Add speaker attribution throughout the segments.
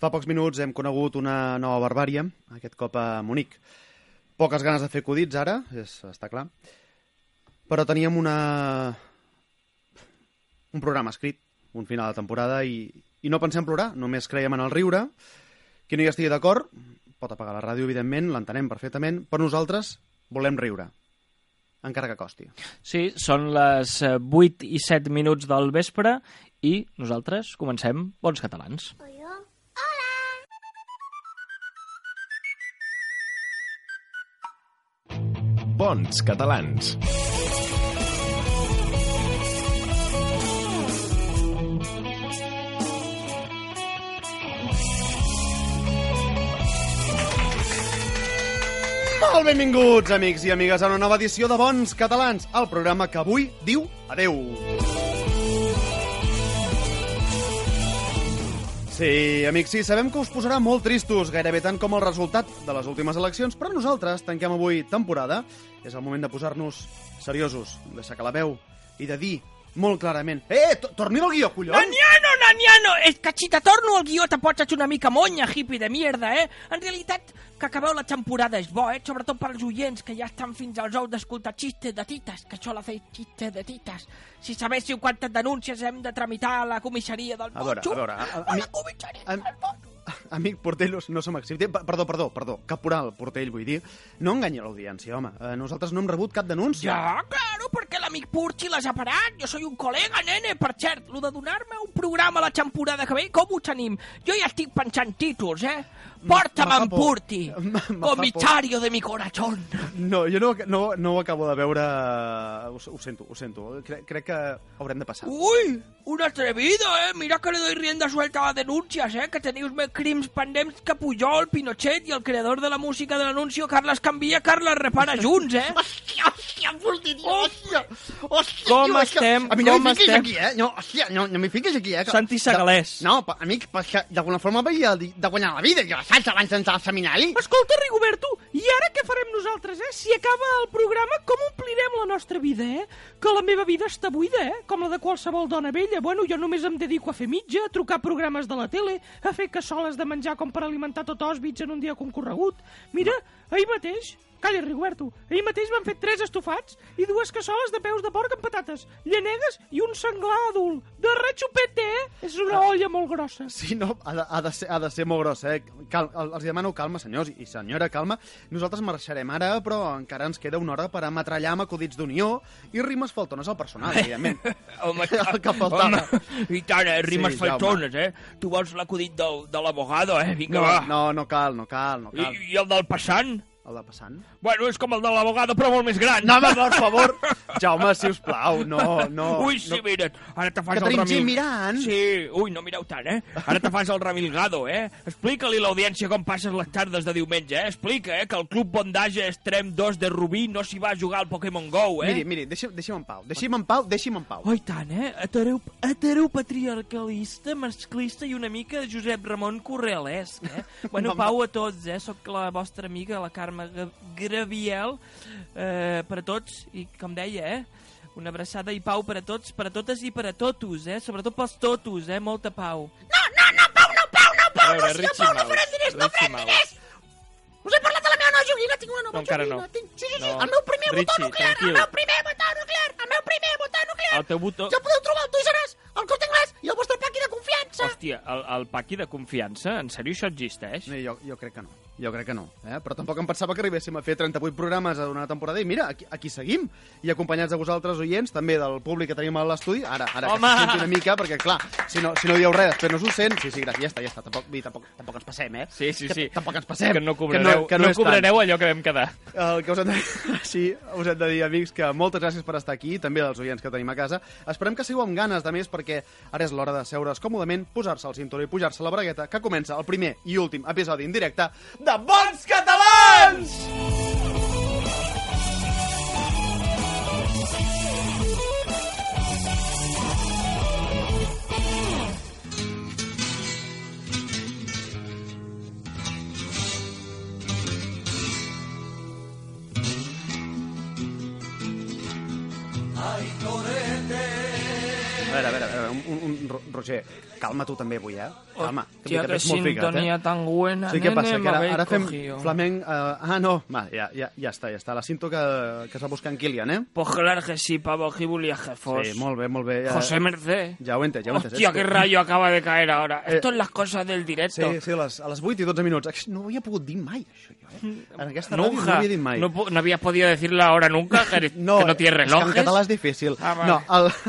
Speaker 1: Fa pocs minuts hem conegut una nova barbària, aquest cop a Munic. Poques ganes de fer acudits ara, és, està clar. Però teníem una... un programa escrit, un final de temporada, i, i no pensem plorar, només creiem en el riure. Qui no hi estigui d'acord pot apagar la ràdio, evidentment, l'entenem perfectament, però nosaltres volem riure, encara que costi.
Speaker 2: Sí, són les eh, 8 i 7 minuts del vespre i nosaltres comencem Bons Catalans.
Speaker 3: Bons catalans.
Speaker 1: Molt benvinguts, amics i amigues, a una nova edició de Bons Catalans, el programa que avui diu adeu. Sí, amics, sí, sabem que us posarà molt tristos, gairebé tant com el resultat de les últimes eleccions, però nosaltres tanquem avui temporada. És el moment de posar-nos seriosos, de sacar la veu i de dir molt clarament Eh, to- torni el guió, collons!
Speaker 4: Naniano, naniano! És que si te torno al guió te pots ets una mica monya, hippie de mierda, eh? En realitat, que acabeu la temporada és bo, eh? Sobretot per als oients que ja estan fins als ous d'escoltar xistes de tites, que això la feia xistes de tites. Si sabéssiu quantes denúncies hem de tramitar a la comissaria del
Speaker 1: A veure, a
Speaker 4: Botxo,
Speaker 1: veure, eh? a- a
Speaker 4: a
Speaker 1: mi-
Speaker 4: la comissaria
Speaker 1: a-
Speaker 4: del Botxo.
Speaker 1: Amic Portellos, no som excepte... pa- Perdó, perdó, perdó. Caporal Portell, vull dir. No enganyi l'audiència, home. Eh, Nosaltres no hem rebut cap denúncia.
Speaker 4: Ja, claro, perquè l'amic Purchi l'ha separat. Jo soy un col·lega, nene, per cert. Lo de donar-me un programa la temporada que ve, com ho tenim? Jo ja estic pensant títols, eh? Porta'm
Speaker 1: fa
Speaker 4: en
Speaker 1: por.
Speaker 4: Purti,
Speaker 1: Me- me fa
Speaker 4: comisario de mi corazón.
Speaker 1: No, jo no, no, no ho acabo de veure... Ho, ho sento, ho sento. Cre crec que haurem de passar.
Speaker 4: Uy, un atrevido, eh? Mira que le doy rienda suelta a les denúncies, eh? Que teniu més crims pendents que Pujol, Pinochet i el creador de la música de l'anuncio, Carles Canvia, Carles Repara junts, eh?
Speaker 5: Hòstia, hòstia, Fulti, tio, hòstia. Hòstia,
Speaker 2: Com
Speaker 5: tio, és que-
Speaker 2: estem?
Speaker 5: A mi no
Speaker 2: Com
Speaker 5: m'hi fiquis
Speaker 2: estem?
Speaker 5: aquí, eh? No, hòstia, no, no m'hi fiquis aquí, eh? Que-
Speaker 2: Santi Segalés.
Speaker 5: De- No, pa- amic, però és que d'alguna forma havia de de guanyar la vida, jo, saps, abans d'entrar al seminari.
Speaker 4: Escolta, Rigoberto, i ara què farem nosaltres, eh? Si acaba el programa, com omplirem la nostra vida, eh? Que la meva vida està buida, eh? Com la de qualsevol dona vella. Bueno, jo només em dedico a fer mitja, a trucar programes de la tele, a fer cassoles de menjar com per alimentar tot Auschwitz en un dia concorregut. Mira, ahir mateix... Calla, Rigoberto. Ahir mateix van fer tres estofats i dues cassoles de peus de porc amb patates, llanegues i un senglar adult. De rechupete, eh? És una
Speaker 5: Ah.
Speaker 4: olla molt grossa.
Speaker 1: Sí, no, ha de, ha de, ser, ha de ser molt gros, eh? Cal, el- els demano calma, senyors i senyora, calma. Nosaltres marxarem ara, però encara ens queda una hora per ametrallar amb acudits d'unió i rimes faltones al personal, evidentment.
Speaker 4: Home,
Speaker 1: El que faltava.
Speaker 4: Home, I tant, eh? Rimes
Speaker 1: Sí,
Speaker 4: sí,
Speaker 1: Jaume.
Speaker 4: faltones, eh? Tu vols l'acudit del, de l'abogado, eh? Vinga,
Speaker 1: No,
Speaker 4: va.
Speaker 1: no, no cal, no cal, no cal.
Speaker 4: I, I el del passant?
Speaker 1: El de passant.
Speaker 4: Bueno, és com el de l'abogado, però molt més gran.
Speaker 1: No, home, per favor. Jaume, si us plau, no, no.
Speaker 4: Ui, sí,
Speaker 1: no.
Speaker 4: mira't. Ara te fas el
Speaker 1: Que tenim
Speaker 4: Ramil...
Speaker 1: gent mirant.
Speaker 4: Sí, ui, no mireu tant, eh? Ara te fas el Ramilgado, eh? Explica-li a l'audiència com passes les tardes de diumenge, eh? Explica, eh? Que el Club Bondage Extrem 2 de Rubí no s'hi va a jugar al Pokémon GO, eh?
Speaker 1: Miri, miri, deixi'm, deixi'm en pau, deixi'm en pau, deixi'm en pau.
Speaker 2: Oh, i tant, eh? Hetereu, heteropatriarcalista, masclista i una mica de Josep Ramon Correalesc, eh? Bueno,
Speaker 1: Mama.
Speaker 2: pau a tots, eh? Soc la vostra amiga, la Carme Ga- Graviel, eh, per a tots, i com deia, eh? Una abraçada i pau per a tots, per a totes i per a totos, eh? Sobretot pels totos, eh? Molta pau.
Speaker 5: No, no, no, Pau, no, Pau, no, Pau,
Speaker 2: A veure,
Speaker 5: no, si no,
Speaker 2: Richie
Speaker 5: Pau, no
Speaker 2: Mouse,
Speaker 5: faràs diners, no
Speaker 2: Richie
Speaker 5: faràs
Speaker 2: Mouse.
Speaker 5: diners. Us he parlat de la meva nova joguina, tinc una nova
Speaker 2: No, encara
Speaker 5: joguina,
Speaker 2: no.
Speaker 5: tinc- sí, sí, sí,
Speaker 2: No.
Speaker 5: el meu primer botó
Speaker 2: Richie,
Speaker 5: nuclear, el
Speaker 2: tranquil.
Speaker 5: meu primer botó nuclear, el meu primer botó nuclear.
Speaker 2: El teu botó...
Speaker 5: Ja podeu trobar al Toys R Us, al Corte Inglés i al vostre paqui de confiança.
Speaker 2: Hòstia, el, el paqui de confiança? En sèrio això existeix?
Speaker 1: Miri, jo, jo crec que no, jo crec que no. Eh? Però tampoc em pensava que arribéssim a fer 38 programes a una temporada i mira, aquí, aquí seguim. I acompanyats de vosaltres, oients, també del públic que tenim a l'estudi, ara, ara que
Speaker 2: Home!
Speaker 1: se senti una mica, perquè clar, si no, si no dieu res, després no s'ho sent, sí, sí, gràcies, ja està, ja està, tampoc, vull dir, tampoc, tampoc ens passem, eh?
Speaker 2: Sí, sí,
Speaker 1: que,
Speaker 2: sí.
Speaker 1: Tampoc ens passem.
Speaker 2: Que no cobrareu, que no,
Speaker 1: és tant.
Speaker 2: cobrareu allò que vam quedar.
Speaker 1: El que us hem, de... sí, us hem de dir, amics, que moltes gràcies per estar aquí, i també als oients que tenim a casa. Esperem que sigueu amb ganes, de més, perquè ara és l'hora de seure's còmodament, posar-se el cinturó i pujar-se la bragueta, que comença el primer i últim episodi en directe de Bons Catalans! A veure, a veure, a veure un, un, un, Ro- Roger, Calma tu també avui, eh?
Speaker 2: Oh,
Speaker 1: Calma. que
Speaker 2: Hostia,
Speaker 1: que
Speaker 2: qué
Speaker 1: ets molt ficat, eh?
Speaker 2: sintonía tan buena,
Speaker 1: Sí, què
Speaker 2: nene,
Speaker 1: passa?
Speaker 2: me
Speaker 1: Que ara,
Speaker 2: habéis
Speaker 1: ara fem
Speaker 2: cogido.
Speaker 1: flamenc... eh, ah, no, va, ja, ja, ja està, ja està. La cinto que, que es va buscar en Kilian, eh?
Speaker 2: Pues claro que sí, pavo, Gibuli a jefos.
Speaker 1: Sí, molt bé, molt bé. Ja,
Speaker 2: José Merced.
Speaker 1: Ja ho he entès, ja ho he entès.
Speaker 2: Hostia,
Speaker 1: És que-
Speaker 2: qué rayo acaba de caer ahora.
Speaker 1: Eh,
Speaker 2: Esto es las cosas del
Speaker 1: Sí,
Speaker 2: directo.
Speaker 1: sí, a les, a les 8 i 12 minuts. Ai, No ho havia pogut dir mai, això, jo, eh? En aquesta ràdio no ho
Speaker 2: Nunca.
Speaker 1: havia dit mai.
Speaker 2: No, po- no habías podido decirla ahora nunca, que, que no tienes
Speaker 1: és que
Speaker 2: relojes.
Speaker 1: en català és difícil.
Speaker 2: Ah, vale.
Speaker 1: no, el,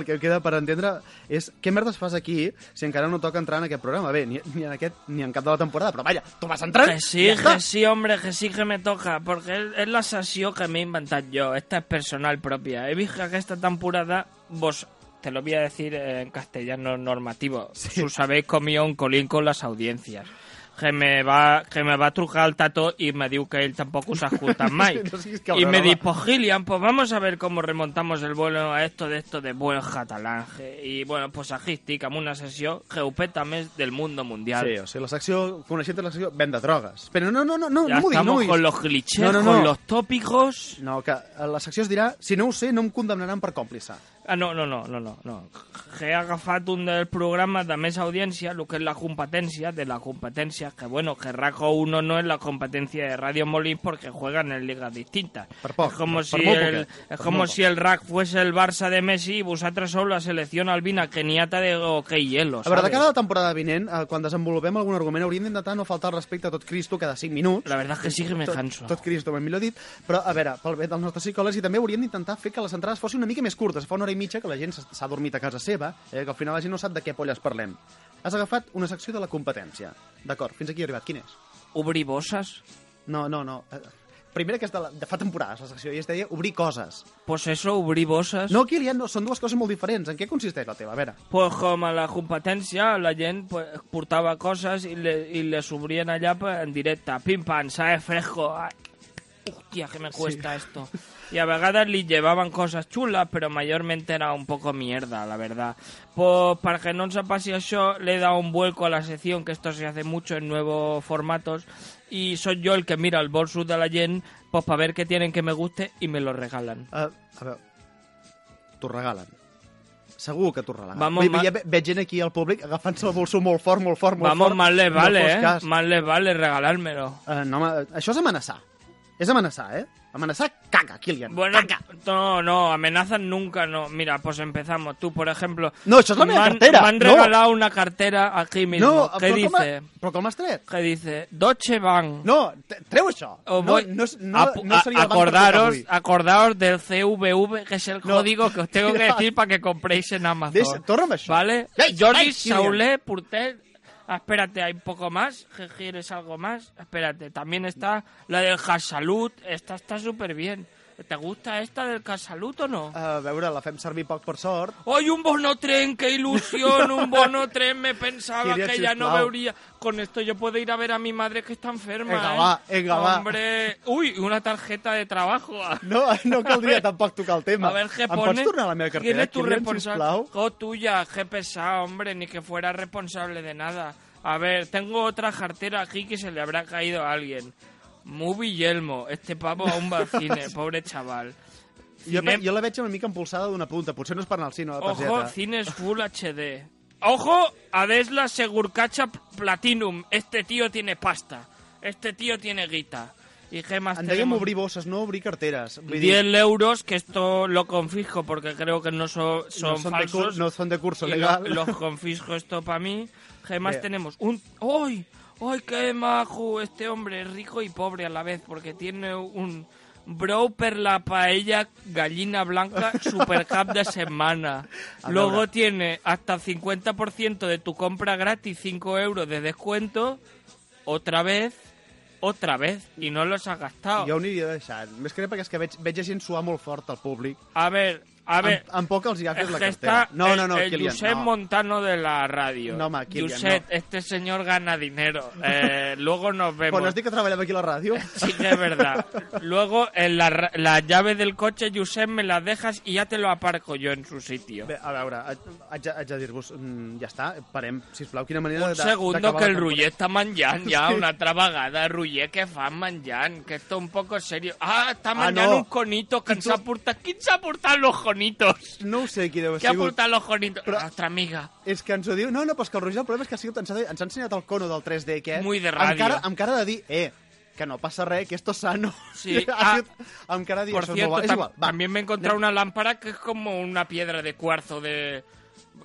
Speaker 1: el que queda per entendre és què merdes fas aquí si encara no toca entrar en aquest programa. Bé, ni, ni en aquest ni en cap de la temporada, però vaja, tu vas entrar...
Speaker 2: Que sí,
Speaker 1: i ja està.
Speaker 2: que sí, hombre, que sí que me toca, perquè és, és la sessió que m'he inventat jo, esta és personal pròpia. He vist que aquesta temporada, vos, te lo voy a decir eh, en castellano normativo, sí. us habéis comido un colín con las audiencias. Que me, va, que me va a trucar el tato y me diu que ell tampoc us escolta mai.
Speaker 1: No siguis
Speaker 2: y
Speaker 1: cabrón,
Speaker 2: me
Speaker 1: home.
Speaker 2: dice, pues Gillian, pues vamos a ver cómo remontamos el vuelo a esto de esto de buen catalán. Y bueno, pues aquí estic amb una sessió geupeta més del mundo mundial.
Speaker 1: Sí, o sigui, la secció, coneixent la secció, venda drogues. Però no, no, no, no,
Speaker 2: Ya
Speaker 1: no m'ho
Speaker 2: estamos
Speaker 1: diguis.
Speaker 2: con los clichés,
Speaker 1: No, no, no.
Speaker 2: con los tópicos.
Speaker 1: No, que eh, la secció es dirà, si no ho sé, no em condemnaran per còmplice.
Speaker 2: Ah, no, no, no, no, no. no. He agafat un del programa de més audiència, lo que es la competencia, de la competencia, que bueno, que RACO 1 no es la competencia de Radio Molins porque juegan en ligas distintas.
Speaker 1: Per poc,
Speaker 2: es como
Speaker 1: per-
Speaker 2: si
Speaker 1: per molt
Speaker 2: el,
Speaker 1: poquet, per
Speaker 2: es como
Speaker 1: molt
Speaker 2: si el RAC fuese el Barça de Messi y vosotros solo la selección albina keniata de OK Hielo,
Speaker 1: A veure, de
Speaker 2: ¿sabes?
Speaker 1: cara a la temporada vinent, eh, quan desenvolupem algun argument, hauríem d'intentar no faltar al respecte a tot Cristo cada 5 minuts.
Speaker 2: La verdad es que sí que me
Speaker 1: Tot,
Speaker 2: canso.
Speaker 1: tot Cristo, ben millor dit. Però, a veure, pel bé dels nostres psicòlegs, i també hauríem d'intentar fer que les entrades fossin una mica més curtes. Fa una hora i mitja que la gent s'ha- s'ha dormit a casa seva, eh, que al final la gent no sap de què polles parlem. Has agafat una secció de la competència. D'acord, fins aquí he arribat. Quin és?
Speaker 2: Obrir bosses?
Speaker 1: No, no, no. Eh, Primera que és de, la, de fa temporades, la secció, i es deia obrir coses.
Speaker 2: Pues eso, obrir bosses.
Speaker 1: No, Kilian, no, són dues coses molt diferents. En què consisteix la teva? A veure.
Speaker 2: pues, com a la competència, la gent pues, portava coses i, le, i les obrien allà pe- en directe. Pim-pam, sabe fresco. Ai, hòstia, que me cuesta esto. Y a vegades li llevaven coses xules, però mayormente era un poco mierda, la verdad. Pues para que no ens passi això, le he dado un vuelco a la sección, que esto se hace mucho en nuevos formatos, y soy yo el que mira el bolso de la gent pues para ver qué tienen que me guste y me lo regalan.
Speaker 1: Uh, a veure, t'ho regalen. Segur que t'ho regalen.
Speaker 2: Vamos
Speaker 1: Vamos,
Speaker 2: mal-
Speaker 1: ja ve- veig gent aquí al públic agafant-se el bolso molt fort, molt fort, molt
Speaker 2: Vamos,
Speaker 1: fort.
Speaker 2: más les vale,
Speaker 1: no fos
Speaker 2: eh?
Speaker 1: Cas.
Speaker 2: Más les vale regalármelo.
Speaker 1: Uh, no, home, això és amenaçar. És amenaçar, eh? Amenaçar caca, Kilian.
Speaker 2: Bueno,
Speaker 1: Caca.
Speaker 2: no, no, amenazas nunca, no. Mira, pues empezamos. Tú, por ejemplo.
Speaker 1: No, eso es la
Speaker 2: me
Speaker 1: mía
Speaker 2: han-
Speaker 1: cartera,
Speaker 2: Me han
Speaker 1: no.
Speaker 2: regalado una cartera aquí mismo.
Speaker 1: no,
Speaker 2: ¿Qué
Speaker 1: però com,
Speaker 2: dice?
Speaker 1: ha- però com has tret?
Speaker 2: ¿Qué dice? Deutsche Bank.
Speaker 1: No, te- treu això.
Speaker 2: Os
Speaker 1: no,
Speaker 2: voy-
Speaker 1: no, és- no,
Speaker 2: Apu-
Speaker 1: no
Speaker 2: a-
Speaker 1: seria el banc per tocar
Speaker 2: acordaros,
Speaker 1: avui.
Speaker 2: acordaros del CVV, que es el
Speaker 1: No.
Speaker 2: código que os tengo que
Speaker 1: Mira.
Speaker 2: decir para que compréis en Amazon.
Speaker 1: Deixa- torna'm això.
Speaker 2: ¿Vale?
Speaker 1: Ei,
Speaker 2: Jordi,
Speaker 1: ai, Kilian.
Speaker 2: Saulé, Purtel. Ah, Espérate, hay un poco más. ¿Que ¿Quieres algo más? Espérate, también está la del Casalud. Esta está súper bien. ¿Te gusta esta del Casalud o no?
Speaker 1: A veure, la fem servir poc per sort.
Speaker 2: ¡Ay, un bono tren! ¡Qué ilusión! ¡Un bono tren! Me pensaba
Speaker 1: Quería
Speaker 2: que ya no
Speaker 1: chiflao.
Speaker 2: vería. Con esto yo puedo ir a ver a mi madre que está enferma.
Speaker 1: Venga,
Speaker 2: ¿eh?
Speaker 1: va, venga, va.
Speaker 2: ¡Hombre! ¡Uy! Una tarjeta de trabajo.
Speaker 1: No, no caldria tampoc tocar el tema.
Speaker 2: A ver qué
Speaker 1: em
Speaker 2: pone.
Speaker 1: pots tornar la meva cartera?
Speaker 2: ¿Quién es tu
Speaker 1: Kilian,
Speaker 2: responsable?
Speaker 1: sisplau?
Speaker 2: Oh, tuya. Qué pesado, hombre. Ni que fuera responsable de nada. A ver, tengo otra cartera aquí que se le habrá caído a alguien. Movie Yelmo. Este pavo aún va al cine. Pobre chaval.
Speaker 1: Jo,
Speaker 2: Cinem-
Speaker 1: jo la veig una mica empolsada d'una punta. Potser no és per anar al cine, la targeta.
Speaker 2: Ojo, cines Full HD. Ojo, Adesla Segurcacha Platinum. Este tío tiene pasta. Este tío tiene guita. ¿Y qué más
Speaker 1: En dèiem
Speaker 2: tenemos?
Speaker 1: obrir bosses, no obrir carteres. Vull
Speaker 2: 10 euros, que esto lo confisco porque creo que no so- son,
Speaker 1: no són De,
Speaker 2: falsos.
Speaker 1: cur- no són de curso
Speaker 2: Y
Speaker 1: legal.
Speaker 2: lo- los confisco esto para mí. ¿Qué más
Speaker 1: Bien.
Speaker 2: tenemos? Un... ¡Ay! ¡Ay, qué majo! Este hombre es rico y pobre a la vez porque tiene un... Bro per la paella gallina blanca super cup de semana.
Speaker 1: A
Speaker 2: Luego
Speaker 1: veure.
Speaker 2: tiene hasta 50% de tu compra gratis, 5 euros de descuento. Otra vez, otra vez. Y no los has gastado.
Speaker 1: Jo ho aniria deixant. Més que res perquè és que veig, veig a gent suar molt fort al públic.
Speaker 2: A ver, a ver.
Speaker 1: Amb, amb poc els hi ha fet
Speaker 2: Es
Speaker 1: la
Speaker 2: que
Speaker 1: cartera.
Speaker 2: está
Speaker 1: No,
Speaker 2: el,
Speaker 1: no, no,
Speaker 2: el
Speaker 1: Kilian,
Speaker 2: Josep
Speaker 1: no.
Speaker 2: Montano de la radio.
Speaker 1: No, ma, Kilian,
Speaker 2: Josep, este señor gana dinero. Eh, luego nos vemos.
Speaker 1: Quan has dit que treballava aquí a la ràdio?
Speaker 2: Sí que es verdad. Luego en la, ra- la llave del coche, Josep, me la dejas y ya te lo aparco yo en su sitio.
Speaker 1: Bé, a veure, ha- haig, de- haig de dir-vos, mm, ja està, parem, sisplau, quina manera
Speaker 2: Un
Speaker 1: de-
Speaker 2: segundo
Speaker 1: d'acabar
Speaker 2: que
Speaker 1: la
Speaker 2: el
Speaker 1: temporada.
Speaker 2: Ruller está manjant ya,
Speaker 1: Sí.
Speaker 2: una trabagada. Ruller, que fan manjant, que esto un poco serio. Ah, está
Speaker 1: Ah,
Speaker 2: manjant
Speaker 1: no.
Speaker 2: un conito que
Speaker 1: I
Speaker 2: ens
Speaker 1: tu-
Speaker 2: ha portat... Qui ens ha portat los
Speaker 4: jonitos.
Speaker 1: No ho sé qui deu
Speaker 4: ¿Qué
Speaker 1: ser.
Speaker 4: ha portat los jonitos?
Speaker 1: Però-
Speaker 4: Nuestra amiga.
Speaker 1: És que ens ho diu... No, no, però és que el Roger el problema és que ha sigut, ens, ha, ens ha ensenyat el cono del 3D aquest.
Speaker 4: Muy de
Speaker 1: Amb
Speaker 4: ràdio.
Speaker 1: cara, amb cara de dir, eh, que no passa res, que esto es sano.
Speaker 4: Sí,
Speaker 1: ha
Speaker 4: ah,
Speaker 1: sigut, amb cara de dir,
Speaker 4: Por
Speaker 1: això
Speaker 4: cierto,
Speaker 1: és molt bo. És
Speaker 4: tam-
Speaker 1: igual, va.
Speaker 4: también me he encontrado una lámpara que es como una piedra de cuarzo de...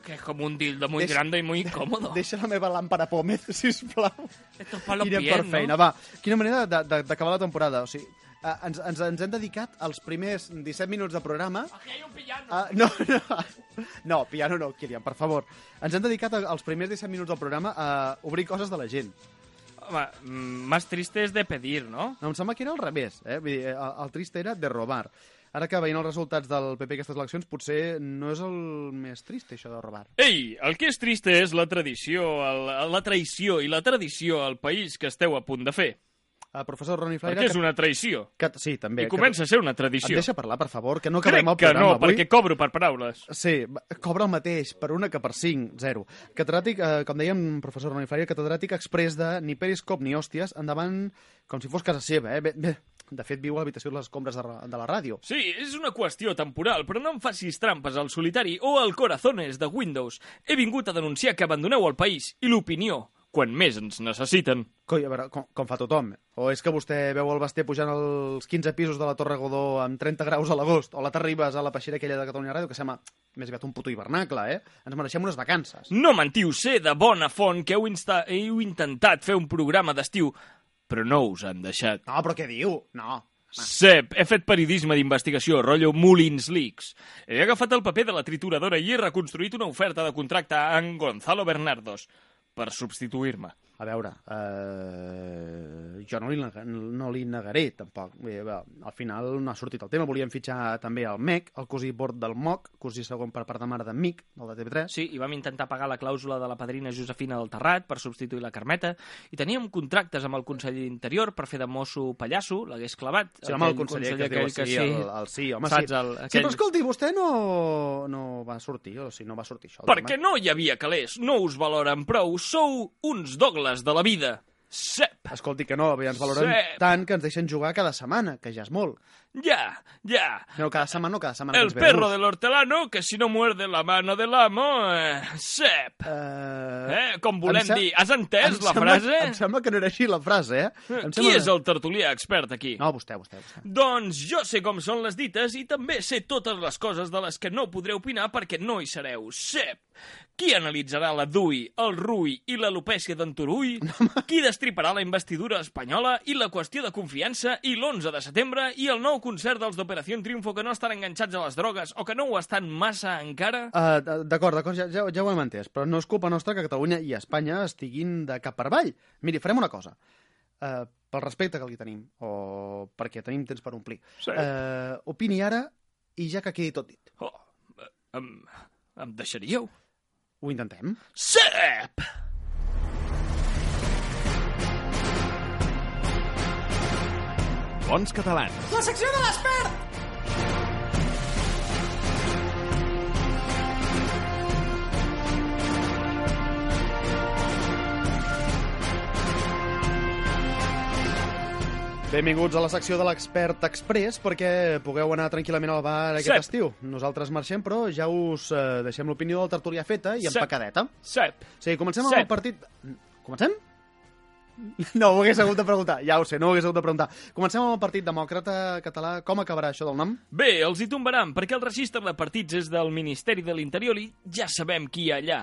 Speaker 4: Que es como un dildo muy
Speaker 1: Des-
Speaker 4: grande y muy incómodo.
Speaker 1: Deixa la meva làmpara Pómez, sisplau.
Speaker 4: Esto es para los
Speaker 1: I anem
Speaker 4: pies,
Speaker 1: per
Speaker 4: ¿no?
Speaker 1: feina, va. Quina manera de- de- d'acabar la temporada. O sigui, eh, ens, ens, ens hem dedicat als primers 17 minuts de programa
Speaker 4: Aquí hay un pillano.
Speaker 1: Ah, no, no, no, piano no, Kilian, per favor. Ens hem dedicat a- als primers 17 minuts del programa a obrir coses de la gent.
Speaker 4: Home, mm, más triste es de pedir, ¿no?
Speaker 1: Em sembla que era al revés, eh? Vull dir, el, el trist era de robar. Ara que veient els resultats del PP aquestes eleccions, potser no és el més trist, això de robar.
Speaker 2: Ei, el que és trista és la tradició, el, la traïció i la tradició al país que esteu a punt de fer.
Speaker 1: Uh, professor Roni Flaire...
Speaker 2: Perquè és una traïció.
Speaker 1: Que, que, sí, també.
Speaker 2: I comença a ser una
Speaker 1: Que, em
Speaker 2: tradició.
Speaker 1: deixa parlar, per favor, que no
Speaker 2: Crec
Speaker 1: acabem el
Speaker 2: que
Speaker 1: programa
Speaker 2: no,
Speaker 1: avui.
Speaker 2: perquè cobro per paraules.
Speaker 1: Sí, va- cobra el mateix, per una que per cinc, zero. Catedràtic, eh, com dèiem, professor Roni Flaire, catedràtic express de ni periscop ni hòsties, endavant com si fos casa seva, eh? Bé, bé, de fet, viu a l'habitació de les escombres de, ra- de la ràdio.
Speaker 2: Sí, és una qüestió temporal, però no em facis trampes al solitari o al corazones de Windows. He vingut a denunciar que abandoneu el país i l'opinió quan més ens necessiten.
Speaker 1: Coi, a veure, com, com fa tothom. O és que vostè veu el Basté pujant els 15 pisos de la Torre Godó amb 30 graus a l'agost, o la Terribas a la peixera aquella de Catalunya Ràdio, que sembla més aviat un puto hivernacle, eh? Ens mereixem unes vacances.
Speaker 2: No mentiu, sé de bona font que heu, insta... heu intentat fer un programa d'estiu, però no us han deixat.
Speaker 1: No, però què diu? No.
Speaker 2: Sep, he fet periodisme d'investigació, rotllo Mullins Leaks. He agafat el paper de la trituradora i he reconstruït una oferta de contracte a en Gonzalo Bernardos per substituir-me.
Speaker 1: A veure, eh, jo no li, nega- no li negaré, tampoc. Vull dir, bé, al final no ha sortit el tema. Volíem fitxar també el MEC, el cosí bord del MOC, cosí segon per part de mare d'en Mic, del de TV3.
Speaker 4: Sí, i vam intentar pagar la clàusula de la padrina Josefina del Terrat per substituir la Carmeta, i teníem contractes amb el conseller d'Interior per fer de mosso pallasso, l'hagués clavat.
Speaker 1: Sí, home, el
Speaker 4: aquell
Speaker 1: conseller, que es diu
Speaker 4: aquell
Speaker 1: així, sí. el, el sí, home,
Speaker 4: Saps,
Speaker 1: sí.
Speaker 4: el-
Speaker 1: Sí,
Speaker 4: aquell-
Speaker 1: però escolti, vostè no, no va sortir, o sigui, no va sortir això. el tema.
Speaker 2: Perquè no hi havia calés, no us valoren prou, sou uns dogles de la vida. Sep,
Speaker 1: Escolti, que no, bé, ens valoren
Speaker 2: Sep.
Speaker 1: tant que ens deixen jugar cada setmana, que ja és molt.
Speaker 2: ja, ja.
Speaker 1: No, cada setmana, no, cada setmana.
Speaker 2: El perro del hortelano, que si no muerde la mano de l'amo, eh, sep.
Speaker 1: Eh...
Speaker 2: Eh, com volem
Speaker 1: Em sem-
Speaker 2: dir, has entès
Speaker 1: em
Speaker 2: la
Speaker 1: sembla-
Speaker 2: frase?
Speaker 1: Em sembla que no era així la frase, eh? Em
Speaker 2: Qui és el tertulià expert aquí?
Speaker 1: No, vostè, vostè, vostè.
Speaker 2: Doncs jo sé com són les dites i també sé totes les coses de les que no podré opinar perquè no hi sereu. Sep! Qui analitzarà la DUI, el RUI i l'alopècia d'en Turull? Qui destriparà la investidura espanyola i la qüestió de confiança i l'11 de setembre i el nou concert dels d'Operació Triunfo que no estan enganxats a les drogues o que no ho estan massa encara?
Speaker 1: Uh, d'acord, d'acord, ja, ja, ja ho hem entès, però no és culpa nostra que Catalunya i Espanya estiguin de cap per avall. Miri, farem una cosa. Uh, pel respecte que li tenim, o perquè tenim temps per omplir.
Speaker 2: Sí.
Speaker 1: Uh, opini ara i ja que quedi tot dit.
Speaker 2: Oh, eh, em, em deixaríeu?
Speaker 1: Ho intentem?
Speaker 2: Sep!
Speaker 3: Bons catalans.
Speaker 5: La secció de l'expert!
Speaker 1: Benvinguts a la secció de l'expert express perquè pugueu anar tranquil·lament al bar aquest
Speaker 2: Cep.
Speaker 1: estiu. Nosaltres marxem, però ja us eh, deixem l'opinió del tertulià feta i
Speaker 2: Cep.
Speaker 1: empacadeta.
Speaker 2: Sep!
Speaker 1: Sí, comencem amb
Speaker 2: Cep.
Speaker 1: el partit... Comencem? No, ho hagués hagut de preguntar. Ja ho sé, no ho hagués hagut de preguntar. Comencem amb el Partit Demòcrata Català. Com acabarà això del nom?
Speaker 2: Bé, els hi tombaran, perquè el registre de partits és del Ministeri de l'Interior i ja sabem qui hi ha allà.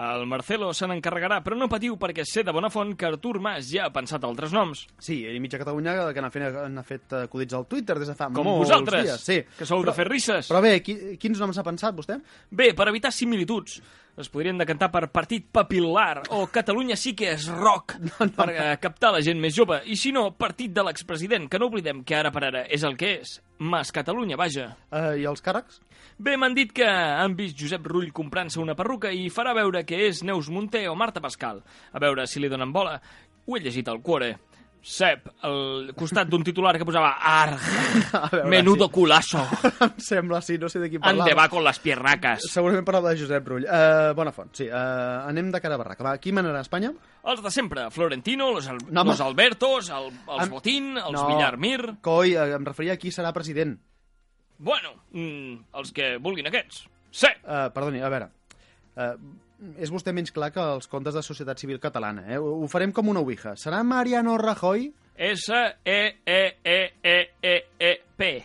Speaker 2: El Marcelo se n'encarregarà, però no patiu perquè sé de bona font que Artur Mas ja ha pensat altres noms,
Speaker 1: Sí, i mitja Catalunya que n'ha fet, n'ha fet eh, acudits al Twitter des de fa
Speaker 2: com
Speaker 1: molts
Speaker 2: vosaltres,
Speaker 1: dies. Sí.
Speaker 2: que sou
Speaker 1: però,
Speaker 2: de fer risses.
Speaker 1: Però bé, qui, quins noms ha pensat vostè?
Speaker 2: Bé, per evitar similituds, es podrien decantar per Partit Papil·lar o Catalunya sí que és rock per eh, captar la gent més jove, i si no, Partit de l'expresident, que no oblidem que ara per ara és el que és. Mas Catalunya, vaja.
Speaker 1: Uh, I els càrrecs?
Speaker 2: Bé, m'han dit que han vist Josep Rull comprant-se una perruca i farà veure que és Neus Monté o Marta Pascal. A veure si li donen bola. Ho he llegit al cuore. Sep, al costat d'un titular que posava
Speaker 1: A
Speaker 2: Arg,
Speaker 1: veure,
Speaker 2: menudo culazo,
Speaker 1: Em sembla, sí, no sé de qui parlava.
Speaker 2: ande va con las piernacas.
Speaker 1: Segurament parlava de Josep Rull. Uh, bona font, sí. Uh, anem de cara a barraca. Va, qui manarà a Espanya?
Speaker 2: Els de sempre, Florentino, los, al
Speaker 1: No, home.
Speaker 2: los Albertos, el, els
Speaker 1: Em-
Speaker 2: Botín, els
Speaker 1: No.
Speaker 2: Villarmir...
Speaker 1: Coi, eh, em referia a qui serà president.
Speaker 2: Bueno, mm, els que vulguin aquests. Sí,
Speaker 5: Uh, perdoni, a veure. Uh, és vostè menys clar que els contes de Societat Civil Catalana, eh? Ho ho farem com una ouija. Serà Mariano Rajoy?
Speaker 2: E, S-E-E-E-E-E-E-P.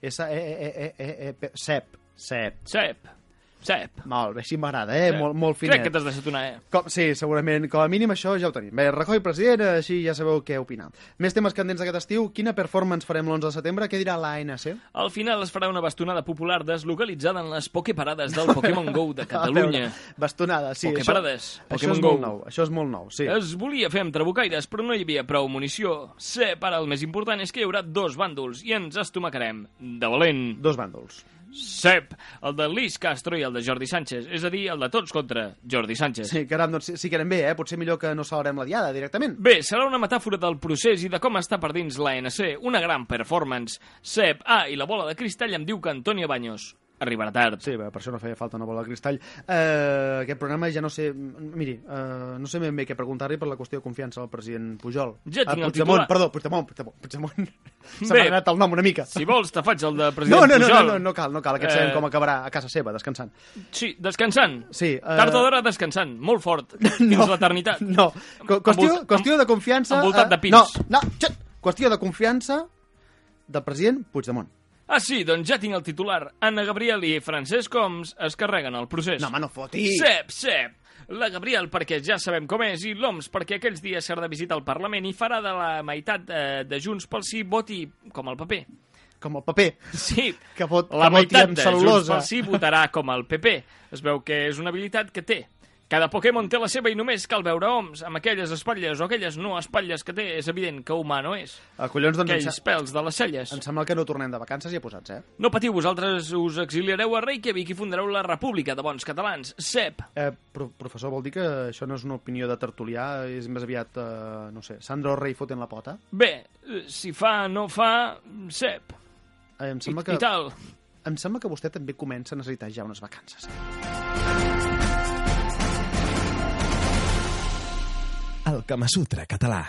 Speaker 5: S e e e e e P- Sep. Sep.
Speaker 2: Sep. Sep.
Speaker 5: Molt bé, així m'agrada, eh?
Speaker 2: Sep.
Speaker 5: Molt, molt finet.
Speaker 2: Crec que t'has deixat una E.
Speaker 5: Com, sí, segurament. Com a mínim això ja ho tenim. Bé, Rajoy president, així ja sabeu què opinar. Més temes candents aquest estiu. Quina performance farem l'11 de setembre? Què dirà l'ANC?
Speaker 2: Al final es farà una bastonada popular deslocalitzada en les pokeparades del Pokémon GO de
Speaker 5: A
Speaker 2: Catalunya.
Speaker 5: veure, Bastonada, sí.
Speaker 2: Pokeparades,
Speaker 5: Això, això
Speaker 2: Pokémon
Speaker 5: és
Speaker 2: Go.
Speaker 5: molt nou, això és molt nou, sí.
Speaker 2: Es volia fer amb trabucaires, però no hi havia prou munició. Se, per el més important és que hi haurà dos bàndols i ens estomacarem. De valent.
Speaker 5: Dos bàndols.
Speaker 2: Sep. El de Luis Castro i el de Jordi Sánchez. És a dir, el de tots contra Jordi Sánchez.
Speaker 5: Sí, caram, doncs sí, sí que anem bé, eh? Potser millor que no celebrem la diada directament.
Speaker 2: Bé, serà una metàfora del procés i de com està per dins l'ANC. Una gran performance. Sep, ah, i la bola de cristall em diu que Antonio Baños arribarà tard.
Speaker 5: Sí, bé, per això no feia falta una bola de cristall. Uh, aquest programa ja no sé... m- Miri, uh, no sé ben bé què preguntar-li per la qüestió de confiança del president Pujol.
Speaker 2: Ja tinc
Speaker 5: Ah,
Speaker 2: el
Speaker 5: Puigdemont,
Speaker 2: titular.
Speaker 5: perdó, Puigdemont, Puigdemont, Puigdemont. Se m'ha
Speaker 2: Bé.
Speaker 5: anat el nom una mica.
Speaker 2: Si vols, te faig el de
Speaker 5: No,
Speaker 2: president
Speaker 5: no, no, no,
Speaker 2: Pujol.
Speaker 5: no, no cal, no cal, aquest
Speaker 2: Eh.
Speaker 5: eh... sabem com acabarà a casa seva, descansant.
Speaker 2: Sí, descansant.
Speaker 5: Sí, eh,
Speaker 2: Tard o d'hora descansant, molt fort. Fins l'eternitat.
Speaker 5: No, Co qüestió,
Speaker 2: Envolt-
Speaker 5: qüestió de confiança...
Speaker 2: envoltat de
Speaker 5: eh,
Speaker 2: pins.
Speaker 5: No, no, xut! qüestió de confiança del president Puigdemont.
Speaker 2: Ah, sí, doncs ja tinc el titular. Anna Gabriel i Francesc Homs es carreguen el procés.
Speaker 5: No, home, no foti!
Speaker 2: Sep, sep. La Gabriel perquè ja sabem com és i l'OMS perquè aquells dies serà de visita al Parlament i farà de la meitat eh, de Junts pel Sí voti com el paper.
Speaker 5: Com el paper,
Speaker 2: Sí,
Speaker 5: que vot,
Speaker 2: la
Speaker 5: que voti
Speaker 2: meitat
Speaker 5: amb
Speaker 2: de Junts
Speaker 5: cel·lulosa.
Speaker 2: pel Sí votarà com el PP. Es veu que és una habilitat que té. Cada Pokémon té la seva i només cal veure oms amb aquelles espatlles o aquelles no espatlles que té. És evident que humà no és.
Speaker 5: Ah, collons, doncs em,
Speaker 2: Aquells
Speaker 5: sa-
Speaker 2: pèls de les celles.
Speaker 5: em sembla que no tornem de vacances i ja posats, eh?
Speaker 2: No patiu, vosaltres us exiliareu a Reykjavik i fundareu la República de Bons Catalans. Sep.
Speaker 5: Eh, pro professor, vol dir que això no és una opinió de tertulià, és més aviat, eh, no sé, Sandro Rey fotent la pota?
Speaker 2: Bé, eh, si fa, no fa... Sep.
Speaker 5: Eh, em,
Speaker 2: I,
Speaker 5: sembla que,
Speaker 2: I tal.
Speaker 5: em sembla que vostè també comença a necessitar ja unes vacances.
Speaker 1: El Kama Sutra català.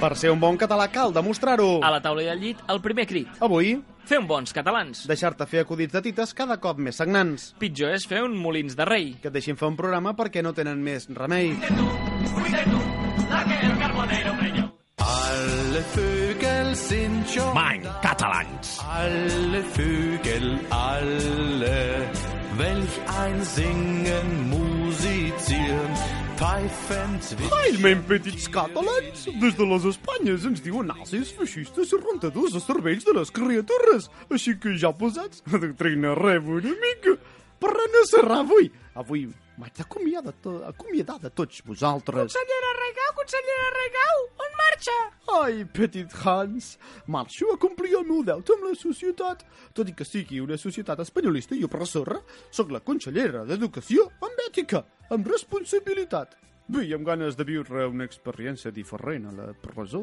Speaker 5: Per ser un bon català cal demostrar-ho!
Speaker 2: A la taula del llit, el primer crit.
Speaker 5: Avui,
Speaker 2: Fer un bons catalans.
Speaker 5: deixar-te fer acudits de tites cada cop més sagnants.
Speaker 2: Pitjor és fer un molins de rei.
Speaker 5: Que et deixin fer un programa perquè no tenen més remei.
Speaker 6: Alle Vögel sind schon
Speaker 1: Mein Catalans.
Speaker 6: alle Vögel, alle. Welch ein Singen, musizieren, pfeifen, zwitschern.
Speaker 5: Ailment petits catalans, des de les Espanyes ens diuen nazis, feixistes i rentadors de cervells de les criatures. Així que ja posats, doctrina rebo una mica. Per renacerrar avui. Avui m'haig d'acomiadar to acomiadar de tots vosaltres.
Speaker 7: Consellera Regau, consellera Regau, on marxa?
Speaker 5: Ai, petit Hans, marxo a complir el meu deute amb la societat. Tot i que sigui una societat espanyolista i opressora, sóc la consellera d'Educació amb ètica, amb responsabilitat. Bé, i amb ganes de viure una experiència diferent a la presó.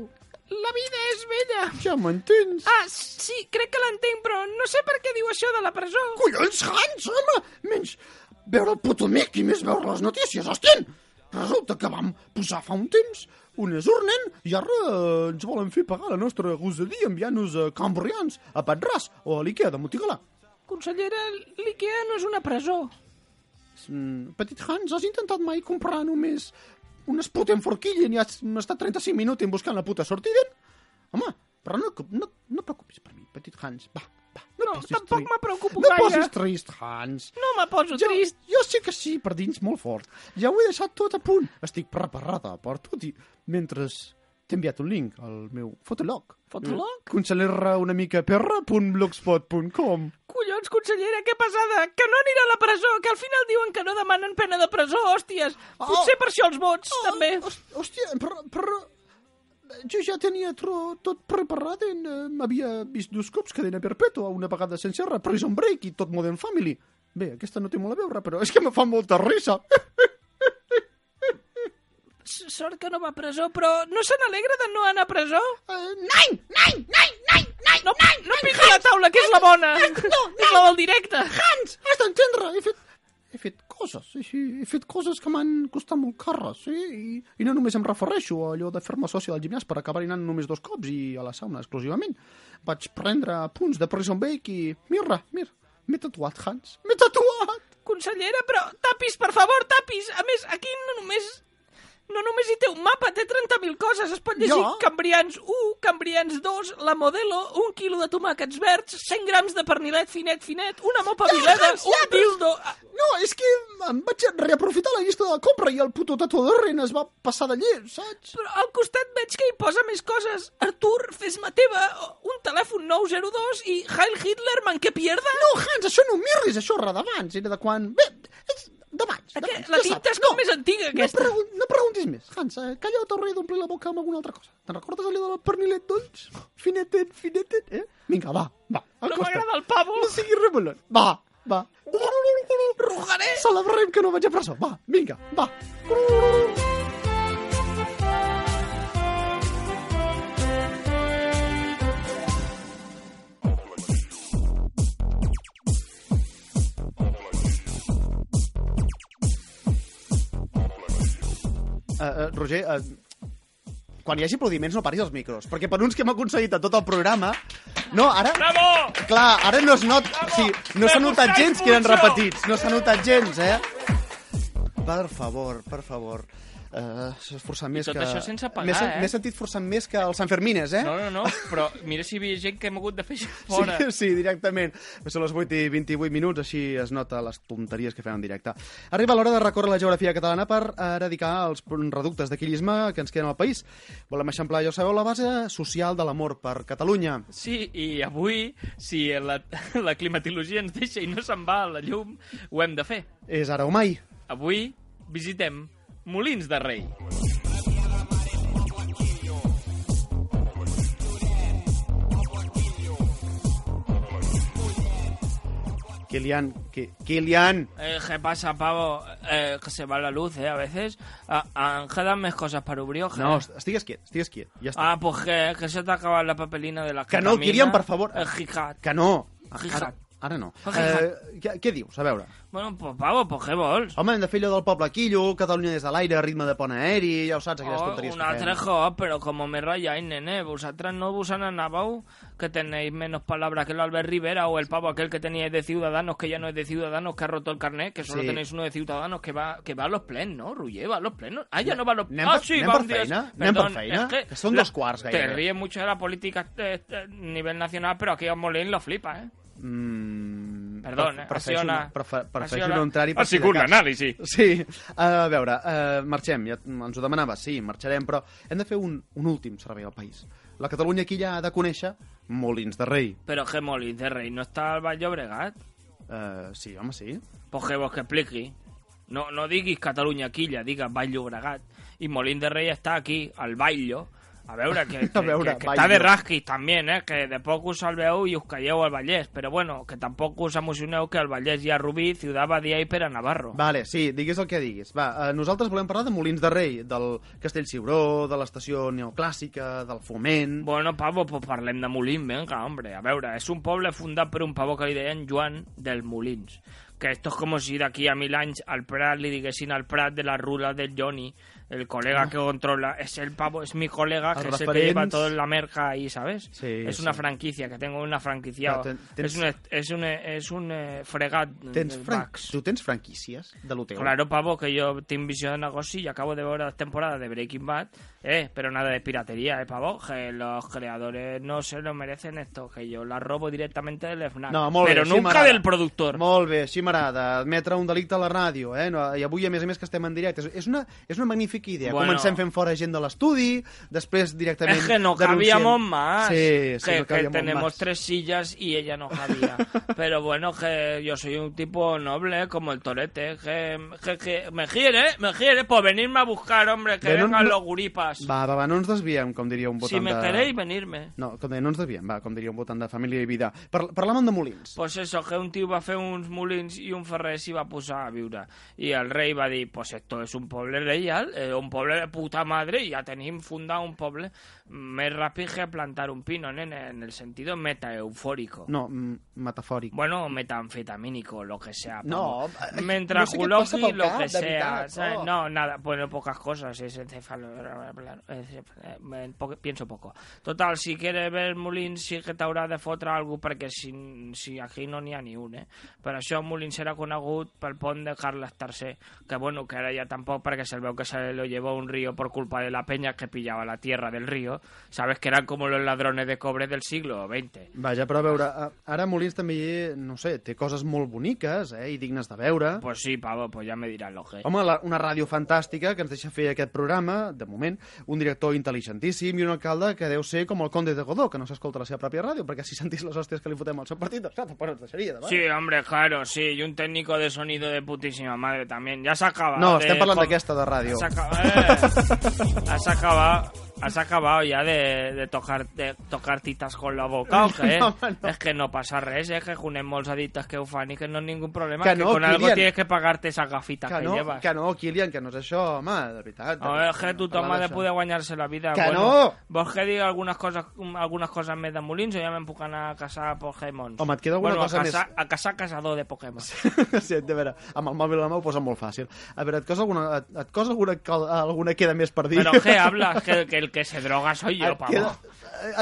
Speaker 7: La vida és bella.
Speaker 5: Ja m'entens?
Speaker 7: Ah, sí, crec que l'entenc, però no sé per què diu això de la presó.
Speaker 5: Collons, Hans, home! Menys veure el Potomac i més veure les notícies, hòstia! Resulta que vam posar fa un temps unes urnen i ara eh, ens volen fer pagar la nostra gosadia enviant-nos a Cambrians, a Petràs o a l'Ikea de Motigalà.
Speaker 7: Consellera, l'IKEA no és una presó.
Speaker 5: Mm, Petit Hans, has intentat mai comprar només unes puten forquillen i has estat 35 minuts buscant la puta sortida? Home, però no, no, no et preocupis per mi, petit Hans. Va, va.
Speaker 7: No,
Speaker 5: posis
Speaker 7: tampoc
Speaker 5: trist.
Speaker 7: me preocupo
Speaker 5: No
Speaker 7: gaire.
Speaker 5: posis trist, Hans.
Speaker 7: No me poso
Speaker 5: Jo,
Speaker 7: trist.
Speaker 5: jo sé que sí, per dins molt fort. Ja ho he deixat tot a punt. Estic preparada per tot i... Mentre t'he enviat un link al meu fotolog. Eh,
Speaker 7: Fotolog?
Speaker 5: Consellera una mica perra.blogspot.com
Speaker 7: Collons, consellera, que pesada! Que no anirà a la presó, que al final diuen que no demanen pena de presó, hòsties! Potser per això els vots, també.
Speaker 5: Hòst- Oh. Hòstia, però, però... Jo ja tenia tro, tot preparat. En, eh, M'havia vist dos cops cadena perpètua, una vegada sense erra, Prison Break i tot Modern Family. Bé, aquesta no té molt a veure, però és que me fa molta risa.
Speaker 7: S- Sort que no va a presó, però no se n'alegra de no anar a presó?
Speaker 5: Eh, nein, nein, nein, nein, nein,
Speaker 7: No, no piqui la taula, que és la bona! És la del directe!
Speaker 5: Hans, has d'entendre, he fet...
Speaker 1: he fet coses, així, he fet coses que m'han costat molt cares, sí? I, i no només em refereixo a allò de fer-me soci del gimnàs per acabar anant només dos cops i a la sauna exclusivament. Vaig prendre punts de Prison Break i... Mira, mira, m'he tatuat, Hans, m'he tatuat!
Speaker 7: Consellera, però tapis, per favor, tapis. A més, aquí no només... No només hi té un mapa, té 30.000 coses. Es pot llegir
Speaker 1: Jo?
Speaker 7: Cambrians 1, Cambrians 2, la Modelo, un quilo de tomàquets verds, 100 grams de pernilet finet finet, una mopa
Speaker 1: Ja,
Speaker 7: vileda,
Speaker 1: Hans, ja,
Speaker 7: un
Speaker 1: però-
Speaker 7: dildo...
Speaker 1: No, és que em vaig reaprofitar la llista de la compra i el puto tatuador es va passar de llet, saps?
Speaker 7: Però al costat veig que hi posa més coses. Artur, fes-me teva, un telèfon 902 i Heil Hitler, man que pierda.
Speaker 1: No, Hans, això no miris, això era d'abans, era de quan... Bé, és d'abans,
Speaker 7: Aqu-
Speaker 1: d'abans,
Speaker 7: la
Speaker 1: ja
Speaker 7: tinta
Speaker 1: saps.
Speaker 7: és com més antiga, aquesta.
Speaker 1: No, pregun no preguntis més, Hans, eh, calla o t'hauré d'omplir la boca amb alguna altra cosa. Te'n recordes allò del pernilet, doncs? Finetet, finetet, eh? Vinga, va, va. al
Speaker 7: No
Speaker 1: costat.
Speaker 7: m'agrada el pavo.
Speaker 1: No siguis remolon. Va, va.
Speaker 6: Eh?
Speaker 7: Rugaré.
Speaker 1: Celebrem que no vaig a presó. Va, vinga, va. Uh, uh, Roger, uh, quan hi hagi aplaudiments no paris els micros, perquè per uns que hem aconseguit a tot el programa... No, ara...
Speaker 5: Bravo!
Speaker 1: Clar, ara no es not... O sigui, no s'ha notat
Speaker 5: Gustavo
Speaker 1: gens que eren
Speaker 5: Pucho!
Speaker 1: repetits. No s'ha notat gens, eh? Per favor, per favor. Uh, forçant més
Speaker 5: tot
Speaker 1: que...
Speaker 5: això sense pagar,
Speaker 1: M'he sen-
Speaker 5: eh?
Speaker 1: M'he sentit forçant més que els Sanfermines, eh?
Speaker 5: No, no, no, però mira si hi havia gent que hem hagut de fer fora.
Speaker 1: Sí, sí, directament. Són les 8 i 28 minuts, així es nota les tonteries que fem en directe. Arriba l'hora de recórrer la geografia catalana per eh, eradicar els reductes d'aquillisme que ens queden al país. Volem eixamplar, ja ho sabeu, la base social de l'amor per Catalunya.
Speaker 5: Sí, i avui, si la, la climatologia ens deixa i no se'n va a la llum, ho hem de fer.
Speaker 1: És ara o mai.
Speaker 5: Avui visitem Molins de Rei.
Speaker 1: Kilian, Ki- Kilian,
Speaker 2: Eh, ¿Qué pasa, pavo? Eh, que se va la luz, ¿eh? A veces. Ah, ah, quedan más cosas para Ubrioja.
Speaker 1: No, est- estigues quiet, estigues quiet. Ja està.
Speaker 2: Ah, pues que, que se te acaba la papelina de la
Speaker 1: Que no,
Speaker 2: ketamina.
Speaker 1: Kilian, per favor.
Speaker 2: Eh, jicat.
Speaker 1: Que no.
Speaker 2: Fija't.
Speaker 1: Ara, ara no.
Speaker 2: Fija't.
Speaker 1: Eh, què, què dius? A veure.
Speaker 2: Bueno, pues pavo, pues què vols?
Speaker 1: Home, hem de fer allò del poble Quillo, Catalunya des de l'aire, ritme de pont aeri, ja ho saps, aquelles tonteries
Speaker 2: Oh, un altre
Speaker 1: que fem.
Speaker 2: joc, però com me rayáis, nene, vosotras no vos anabau que tenéis menos palabras que el Albert Rivera o el pavo aquel que teníais de Ciudadanos, que ya no es de Ciudadanos, que ha roto el carnet, que solo
Speaker 1: Sí.
Speaker 2: tenéis uno de Ciudadanos que va, que va a los plenos, ¿no, Ruller? Va a los plenos. Ah, ya no va a los
Speaker 1: Anem
Speaker 2: Ah,
Speaker 1: per-
Speaker 2: sí,
Speaker 1: anem
Speaker 2: va
Speaker 1: per
Speaker 2: un día-
Speaker 1: feina, anem per
Speaker 2: Perdón,
Speaker 1: feina,
Speaker 2: es
Speaker 1: que són
Speaker 2: la-
Speaker 1: dos quarts
Speaker 2: Te
Speaker 1: gairebé.
Speaker 2: ríes mucho de la política eh, eh, a nivel nacional, pero aquí a Molín lo flipa, ¿eh?
Speaker 1: Mm,
Speaker 2: Perdona,
Speaker 1: pref-
Speaker 2: ha
Speaker 1: prefereixo,
Speaker 2: sido una-
Speaker 1: una, prefe,
Speaker 2: ha
Speaker 1: prefereixo
Speaker 2: sido
Speaker 1: un contrari per
Speaker 5: Ha sigut
Speaker 1: de cas.
Speaker 5: l'anàlisi.
Speaker 1: Sí, a veure, eh, marxem, ja ens ho demanava, sí, marxarem, però hem de fer un, un últim servei al país. La Catalunya aquí ja ha de conèixer Molins de Rei.
Speaker 2: Pero que Molín de Rey no está al Valle Obregat.
Speaker 1: Eh, sí, home, sí.
Speaker 2: Pues que vos que expliqui. No, no diguis Catalunya Quilla, digues Vall Llobregat. I Molín de Rei està aquí, al Baillo. A veure, que, que,
Speaker 1: A veure,
Speaker 2: que, que
Speaker 1: Baillo.
Speaker 2: està de rasquis també, eh? que de poc us salveu i us calleu al Vallès. Però bueno, que tampoc us emocioneu que al Vallès hi ha Rubí, Ciudad Badia i Pere Navarro.
Speaker 1: Vale, sí, digues el que diguis. Va, eh, nosaltres volem parlar de Molins de Rei, del Castell Ciuró, de l'estació neoclàssica, del foment...
Speaker 2: Bueno, pavo, pues parlem de Molins, venga, hombre. A veure, és un poble fundat per un pavo que li deien Joan del Molins. Que esto es como si d'aquí a mil anys al Prat li diguessin al Prat de la rula del Johnny, el colega
Speaker 1: Ah.
Speaker 2: que controla. Es el pavo, es mi colega,
Speaker 1: Els
Speaker 2: que es el que lleva
Speaker 1: referents.
Speaker 2: todo en la merca ahí, ¿sabes?
Speaker 1: Sí,
Speaker 2: es una
Speaker 1: sí.
Speaker 2: franquicia, que tengo una franquicia.
Speaker 1: Però ten- tens-
Speaker 2: Es un, es un, es un eh, fregat.
Speaker 1: Tens
Speaker 2: de
Speaker 1: fran...
Speaker 2: Vax.
Speaker 1: Tu tens franquícies de l'hotel?
Speaker 2: Claro, pavo, que yo tengo visión de negocio y acabo de ver las temporadas de Breaking Bad, eh, pero nada de piratería, eh, pavo, que los creadores no se lo merecen esto, que yo la robo directamente del FNAC,
Speaker 1: No, molt
Speaker 2: pero
Speaker 1: bé, sí,
Speaker 2: Ah, nunca
Speaker 1: m'agrada.
Speaker 2: del productor.
Speaker 1: Molt bé, sí m'agrada, admetre un delicte a la ràdio, eh? No, I avui, a més a més, que estem en directe. És- És una, és una magnífica idea.
Speaker 2: Bueno.
Speaker 1: Comencem fent fora gent de l'estudi, després directament...
Speaker 2: Es que no
Speaker 1: denunciem.
Speaker 2: cabíamos más.
Speaker 1: Sí, sí,
Speaker 2: que,
Speaker 1: no
Speaker 2: que
Speaker 1: cabíamos
Speaker 2: tenemos
Speaker 1: más.
Speaker 2: tres sillas y ella no cabía. Pero bueno, que yo soy un tipo noble, como el torete. Que, que- que me quiere, me quiere, por venirme a buscar, hombre, que
Speaker 1: Ve, no-
Speaker 2: vengan
Speaker 1: no-
Speaker 2: los guripas.
Speaker 1: Va, va, va, no ens desviem, com diria un votant
Speaker 2: si me
Speaker 1: de...
Speaker 2: queréis, venirme.
Speaker 1: No, com deia, no ens desviem, va, com diria un votant de família i vida. Par parlàvem de Molins.
Speaker 2: Pues eso, que un tío va a hacer uns molins i un ferrer s'hi va posar a viure. I el rei va dir, pues esto es un poble reial, eh, un poble de puta madre, i ja tenim fundar un poble més ràpid que plantar un pino, nene, en el sentido metaeufórico.
Speaker 1: No, mm, metafòric.
Speaker 2: Bueno, metanfetamínico, lo que sea.
Speaker 7: No,
Speaker 2: Pablo.
Speaker 7: eh,
Speaker 2: mientras
Speaker 7: no sé qué
Speaker 2: Juloki,
Speaker 7: pasa por
Speaker 2: lo
Speaker 7: acá,
Speaker 2: que
Speaker 7: de
Speaker 2: sea.
Speaker 7: verdad,
Speaker 2: ¿sabes?
Speaker 7: oh.
Speaker 2: No, nada, bueno, pocas cosas. Es encefalo. eh, po- Pienso poco. Total, si quieres ver Molins, sí que t'haurà de fotre algú perquè si, si aquí no n'hi ha ni un, eh? Per això Molins era conegut pel pont de Carles III, que bueno, que ara ja tampoc perquè se'l veu que se lo llevó un río por culpa de la peña que pillaba la tierra del río. Sabes que eran como los ladrones de cobre del siglo XX.
Speaker 1: Vaja, però a veure, a- ara Molins també, no sé, té coses molt boniques eh, i dignes de veure.
Speaker 2: Pues sí, pavo, pues ya me dirás lo que.
Speaker 1: Home, la, una ràdio fantàstica que ens deixa fer aquest programa, de moment, un director intel·ligentíssim i un alcalde que deu ser com el conde de Godó, que no s'escolta la seva pròpia ràdio, perquè si sentís les hòsties que li fotem al seu partit, doncs, clar, tampoc no ens deixaria de
Speaker 2: Sí, hombre, claro, sí. Y un técnico de sonido de putísima madre también. Ya se eh, acaba.
Speaker 1: No,
Speaker 2: de-
Speaker 1: estem parlant
Speaker 2: com-
Speaker 1: d'aquesta de ràdio.
Speaker 2: Has acabado, has acabado, has acabado ya de, de tocar de tocar titas con la boca, ¿o qué?
Speaker 1: No, home, no.
Speaker 2: Es que no pasa res, eh, que junen molsaditas que ufan y que no es ningún problema.
Speaker 1: Que
Speaker 2: Que,
Speaker 1: no,
Speaker 2: con algo
Speaker 1: Kilian.
Speaker 2: tienes que pagarte esas gafitas que,
Speaker 1: Que no,
Speaker 2: llevas.
Speaker 1: que no, Kilian, que no és això, home, de veritat.
Speaker 2: A ver, es que tu toma
Speaker 1: Parlar
Speaker 2: de
Speaker 1: d'això.
Speaker 2: poder guanyarse la vida.
Speaker 1: Que
Speaker 2: bueno,
Speaker 1: no.
Speaker 2: Vos que diga algunas cosas, algunas cosas més de Molins o ya me empucan a casar Pokémon.
Speaker 1: Home, et queda alguna
Speaker 2: bueno,
Speaker 1: cosa
Speaker 2: a
Speaker 1: més?
Speaker 2: casar, a casar casador de Pokémon.
Speaker 1: sí, a veure, amb el mòbil a la mà ho posa molt fàcil. A veure, et cosa alguna, et, et cosa alguna, co- alguna queda més per dir?
Speaker 2: Pero ¿qué hablas? Que, que el que se droga soy yo,
Speaker 1: et,
Speaker 2: pavo.
Speaker 1: queda,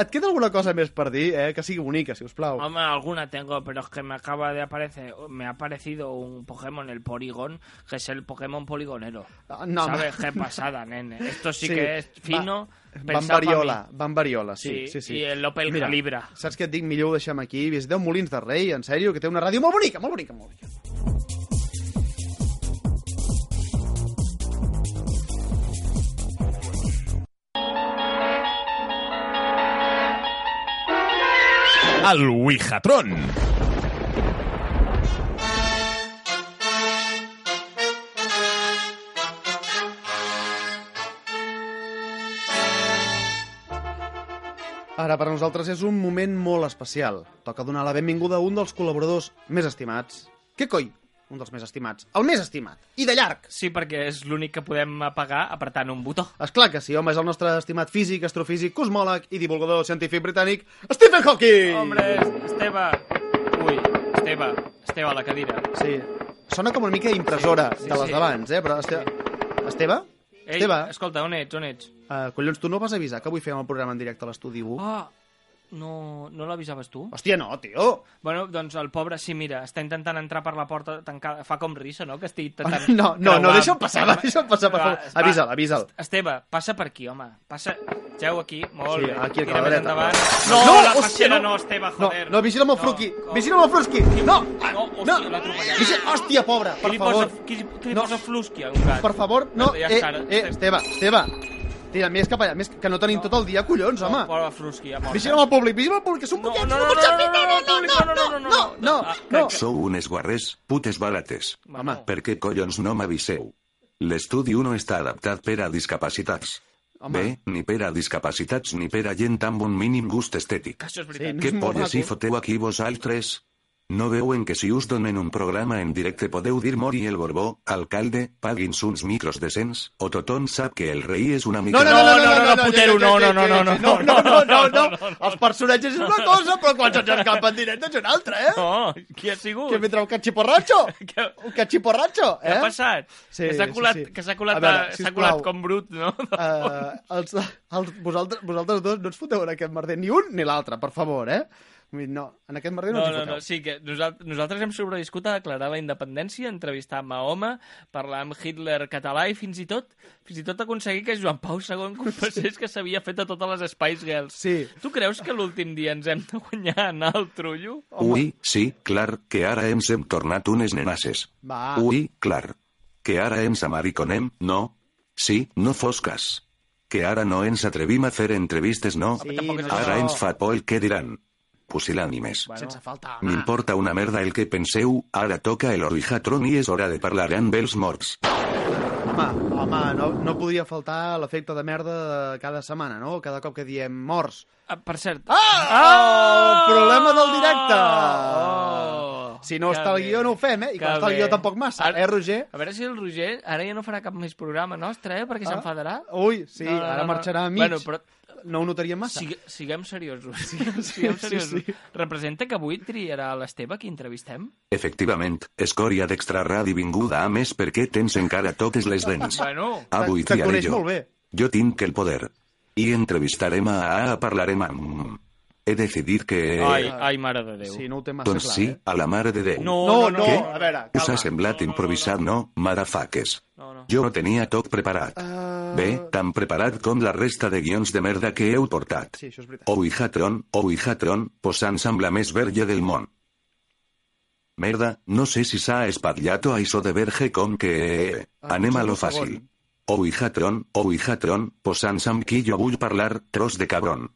Speaker 1: et queda alguna cosa més per dir, eh? Que sigui bonica, si us plau.
Speaker 2: Hombre, alguna tengo, pero es que me acaba de aparecer, me ha aparecido un Pokémon, el Porygon, que es el Pokémon poligonero.
Speaker 1: Ah, no,
Speaker 2: ¿Sabes
Speaker 1: home.
Speaker 2: qué pasada, nene? Esto sí,
Speaker 1: Sí,
Speaker 2: que es fino.
Speaker 1: Va-
Speaker 2: pensado
Speaker 1: Van
Speaker 2: pa' mí.
Speaker 1: Variola, Van Variola, sí,
Speaker 2: Sí,
Speaker 1: sí, sí.
Speaker 2: i el López
Speaker 1: Mira,
Speaker 2: Calibra.
Speaker 1: Saps què et dic? Millor ho deixem aquí. Visiteu Molins de Rei, en sèrio, que té una ràdio molt bonica, molt bonica, molt bonica.
Speaker 3: El Wihatron.
Speaker 1: Ara, per nosaltres és un moment molt especial. Toca donar la benvinguda a un dels col·laboradors més estimats. Què coi? Un dels més estimats. El més estimat. I de llarg.
Speaker 2: Sí, perquè és l'únic que podem apagar apretant un botó.
Speaker 1: És clar que sí, home, és el nostre estimat físic, astrofísic, cosmòleg i divulgador científic britànic, Stephen Hawking!
Speaker 2: Hombre, Esteve... Ui, Esteve, Esteve a la cadira.
Speaker 1: Sí. Sona com una mica impressora
Speaker 2: Sí, sí,
Speaker 1: de les
Speaker 2: sí.
Speaker 1: d'abans, eh? Però, este... Esteve?
Speaker 2: Ei,
Speaker 1: Esteve?
Speaker 2: escolta, on ets, on ets?
Speaker 1: Eh, collons, tu no vas avisar que avui fèiem el programa en directe a l'estudi 1?
Speaker 2: Ah, no, no l'avisaves tu?
Speaker 1: Hòstia, no, tio!
Speaker 2: Bueno, doncs el pobre, sí, mira, està intentant entrar per la porta tancada. Fa com risa, no?, que estigui intentant...
Speaker 1: No, no, no,
Speaker 2: creuar-
Speaker 1: deixa'm passar, va, deixa'm passar, per
Speaker 2: Va,
Speaker 1: favor.
Speaker 2: va.
Speaker 1: Avisa'l, avisa'l.
Speaker 2: Esteve, passa per aquí, home. Passa... Seu aquí, molt
Speaker 1: Sí,
Speaker 2: bé.
Speaker 1: aquí, a
Speaker 2: Tira
Speaker 1: la
Speaker 2: més
Speaker 1: dreta.
Speaker 2: endavant. No,
Speaker 1: No,
Speaker 2: la
Speaker 1: hòstia,
Speaker 2: passera no,
Speaker 1: no.
Speaker 2: Esteve,
Speaker 1: No,
Speaker 2: joder.
Speaker 1: no, vigila amb el fruqui!
Speaker 2: com-
Speaker 1: Vigila amb el fruqui! No! ah,
Speaker 2: No, hòstia,
Speaker 1: no!
Speaker 2: l'ha atropellat.
Speaker 1: Vigila- Hòstia, pobra,
Speaker 2: Qui
Speaker 1: per
Speaker 2: li
Speaker 1: favor.
Speaker 2: Posa, qui, li- qui li
Speaker 1: No.
Speaker 2: posa flusqui a un gat?
Speaker 1: Per favor, no,
Speaker 2: Ja
Speaker 1: eh,
Speaker 2: està, ara.
Speaker 1: eh, Esteve, Esteve. Tira, més cap allà, més que no tenim tot el dia, collons,
Speaker 2: No,
Speaker 1: home.
Speaker 2: posa flusqui, a
Speaker 1: Vigila amb el públic, vigila amb el públic, que
Speaker 2: eh.
Speaker 1: són
Speaker 2: No,
Speaker 1: poquets,
Speaker 2: no, no,
Speaker 1: no pot ser,
Speaker 2: no, no, no, no, no, no, no,
Speaker 1: no, no,
Speaker 2: no,
Speaker 1: no.
Speaker 8: Sou unes guarrers, putes barates.
Speaker 1: Home,
Speaker 8: Per què collons no m'aviseu? L'estudi 1 està adaptat per a discapacitats.
Speaker 1: home,
Speaker 8: Bé, ni per a discapacitats ni per a gent amb un mínim gust estètic.
Speaker 2: Això és
Speaker 1: sí,
Speaker 2: veritat.
Speaker 1: no
Speaker 8: Què
Speaker 1: és molt
Speaker 8: polles hi
Speaker 1: maco.
Speaker 8: foteu aquí vosaltres? No veuen que si us donen un programa en directe podeu dir Mori el Borbó, alcalde, paguins uns micros decents, o tothom sap que el rei és una mica...
Speaker 1: No, no, no, no, no, no, no, no,
Speaker 2: putero,
Speaker 1: ja, ja,
Speaker 2: no,
Speaker 1: ja,
Speaker 2: no, no,
Speaker 1: ja,
Speaker 2: no,
Speaker 1: ja, no, no, no, no, no. Els personatges és una cosa, però quan se'ns escapa en directe és una altra, eh?
Speaker 2: No, qui ha sigut?
Speaker 1: Que mentre un cachiporratxo,
Speaker 2: Que-
Speaker 1: un cachiporratxo,
Speaker 2: Què
Speaker 1: eh?
Speaker 2: ha passat?
Speaker 1: Sí,
Speaker 2: que s'ha
Speaker 1: sí,
Speaker 2: colat,
Speaker 1: sí.
Speaker 2: Que s'ha colat,
Speaker 1: A veure,
Speaker 2: a- s'ha
Speaker 1: sisplau.
Speaker 2: colat com brut, no?
Speaker 1: Eh, els, els, vosaltres, vosaltres dos no ens foteu en aquest merder, ni un ni l'altre, per favor, eh? Vull dir, No, en aquest merder no,
Speaker 2: No,
Speaker 1: ens hi
Speaker 2: no,
Speaker 1: foteu.
Speaker 2: no, sí, que nosaltres, nosaltres hem sobreviscut a declarar la independència, entrevistar Mahoma, parlar amb Hitler català i fins i tot fins i tot aconseguir que Joan Pau II confessés que s'havia fet a totes les Spice Girls.
Speaker 1: Sí.
Speaker 2: Tu creus que l'últim dia ens hem de guanyar a anar al trullo?
Speaker 8: Ui, sí, clar, que ara ens hem tornat unes nenasses.
Speaker 1: Va.
Speaker 8: Ui, clar. Que ara ens amariconem, no? Sí, no fos cas. Que ara no ens atrevim a fer entrevistes, no?
Speaker 1: Sí,
Speaker 2: Tampoc és
Speaker 1: no,
Speaker 8: Ara
Speaker 1: no.
Speaker 8: ens fa por el que diran. Pusilànimes.
Speaker 1: Sense Ah. falta, home.
Speaker 8: M'importa una merda el que penseu, ara toca el orijatron i és hora de parlar amb els morts.
Speaker 1: Home, home, no, no podia faltar l'efecte de merda de cada setmana, no? Cada cop que diem morts.
Speaker 2: Ah, per cert...
Speaker 1: Ah! El problema del directe!
Speaker 2: Oh!
Speaker 1: Si no està el guió, no ho fem, eh? I quan
Speaker 2: Que
Speaker 1: està el
Speaker 2: bé.
Speaker 1: guió, tampoc massa,
Speaker 2: Ara-
Speaker 1: eh, Roger?
Speaker 2: A veure si el Roger ara ja no farà cap més programa nostre, eh? Perquè
Speaker 1: Ah.
Speaker 2: s'enfadarà.
Speaker 1: Ui, sí,
Speaker 2: No, no,
Speaker 1: ara
Speaker 2: no, no.
Speaker 1: marxarà a mig.
Speaker 2: Bueno, però
Speaker 1: No ho notaríem massa.
Speaker 2: sigue, siguem seriosos. siguem
Speaker 1: sí,
Speaker 2: seriosos.
Speaker 1: sí.
Speaker 2: Representa que avui triarà l'Esteve qui entrevistem?
Speaker 8: Efectivament, escòria d'extraradi vinguda a més perquè tens encara totes les dents.
Speaker 2: Bueno,
Speaker 8: Ah, Avui
Speaker 1: Te
Speaker 8: triaré
Speaker 1: coneix
Speaker 8: jo.
Speaker 1: molt bé.
Speaker 8: Jo tinc el poder. I entrevistarem a a, a parlarem amb... He decidit que... eh,
Speaker 2: ai, ai, mare de Déu.
Speaker 1: Sí, no ho té massa
Speaker 8: doncs
Speaker 1: clar,
Speaker 8: sí,
Speaker 1: eh?
Speaker 8: a la mare de Déu.
Speaker 2: No,
Speaker 1: No, no,
Speaker 8: Què?
Speaker 1: a veure,
Speaker 8: Us ha
Speaker 1: calma.
Speaker 8: semblat improvisat, no, marafaques?
Speaker 2: No, no.
Speaker 8: Jo ho tenia tot preparat. Bé,
Speaker 1: Eh,
Speaker 8: tan preparat com la resta de guions de merda que heu portat.
Speaker 1: Sí, això és veritat.
Speaker 8: Ouijatron, Ouijatron, posant-se amb la més verge del món. Merda, no sé si s'ha espatllat o això de verge com que... eh,
Speaker 1: Ah,
Speaker 8: Anem a
Speaker 1: un
Speaker 8: lo
Speaker 1: segon.
Speaker 8: fàcil. Ouijatron, Ouijatron, posant-se amb qui jo vull parlar, tros de cabron.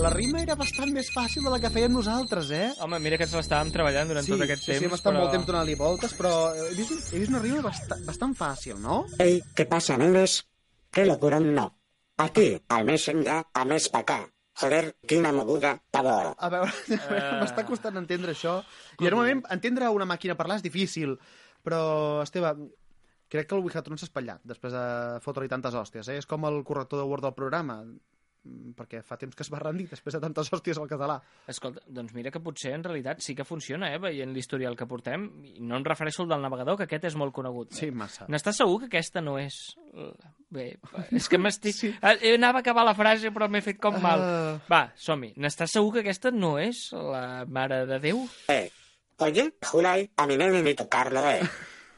Speaker 1: La rima era bastant més fàcil de la que fèiem nosaltres, eh?
Speaker 2: Home, mira que ens l'estàvem treballant durant
Speaker 1: Sí,
Speaker 2: tot aquest
Speaker 1: sí,
Speaker 2: temps.
Speaker 1: sí, hem estat
Speaker 2: però...
Speaker 1: molt temps donant-li voltes, però he vist, un- he vist una rima bastant, bastant fàcil, no?
Speaker 9: Ei, què passa, nenes? Que locura no. Aquí, al més enllà, a més pa acá. Joder, quina moguda, tabor.
Speaker 1: A veure, a veure
Speaker 2: Eh.
Speaker 1: m'està costant entendre això. I normalment entendre una màquina parlar és difícil, però, Esteve, crec que el Wihatron s'ha espatllat després de fotre-li tantes hòsties, eh? És com el corrector de Word del programa, mm, perquè fa temps que es va rendir després de tantes hòsties al català.
Speaker 2: Escolta, doncs mira que potser en realitat sí que funciona, eh, veient l'historial que portem. I no em refereixo al del navegador, que aquest és molt conegut.
Speaker 1: Sí, massa.
Speaker 2: N'estàs segur que aquesta no és... Bé, és que Ah, m'estic... Sí. Eh, Anava a acabar la frase, però m'he fet com mal.
Speaker 1: Ah.
Speaker 2: Va, som-hi. N'estàs segur que aquesta no és la Mare de Déu?
Speaker 9: Eh, oye, Julay, a mi nene ni tocarlo, eh.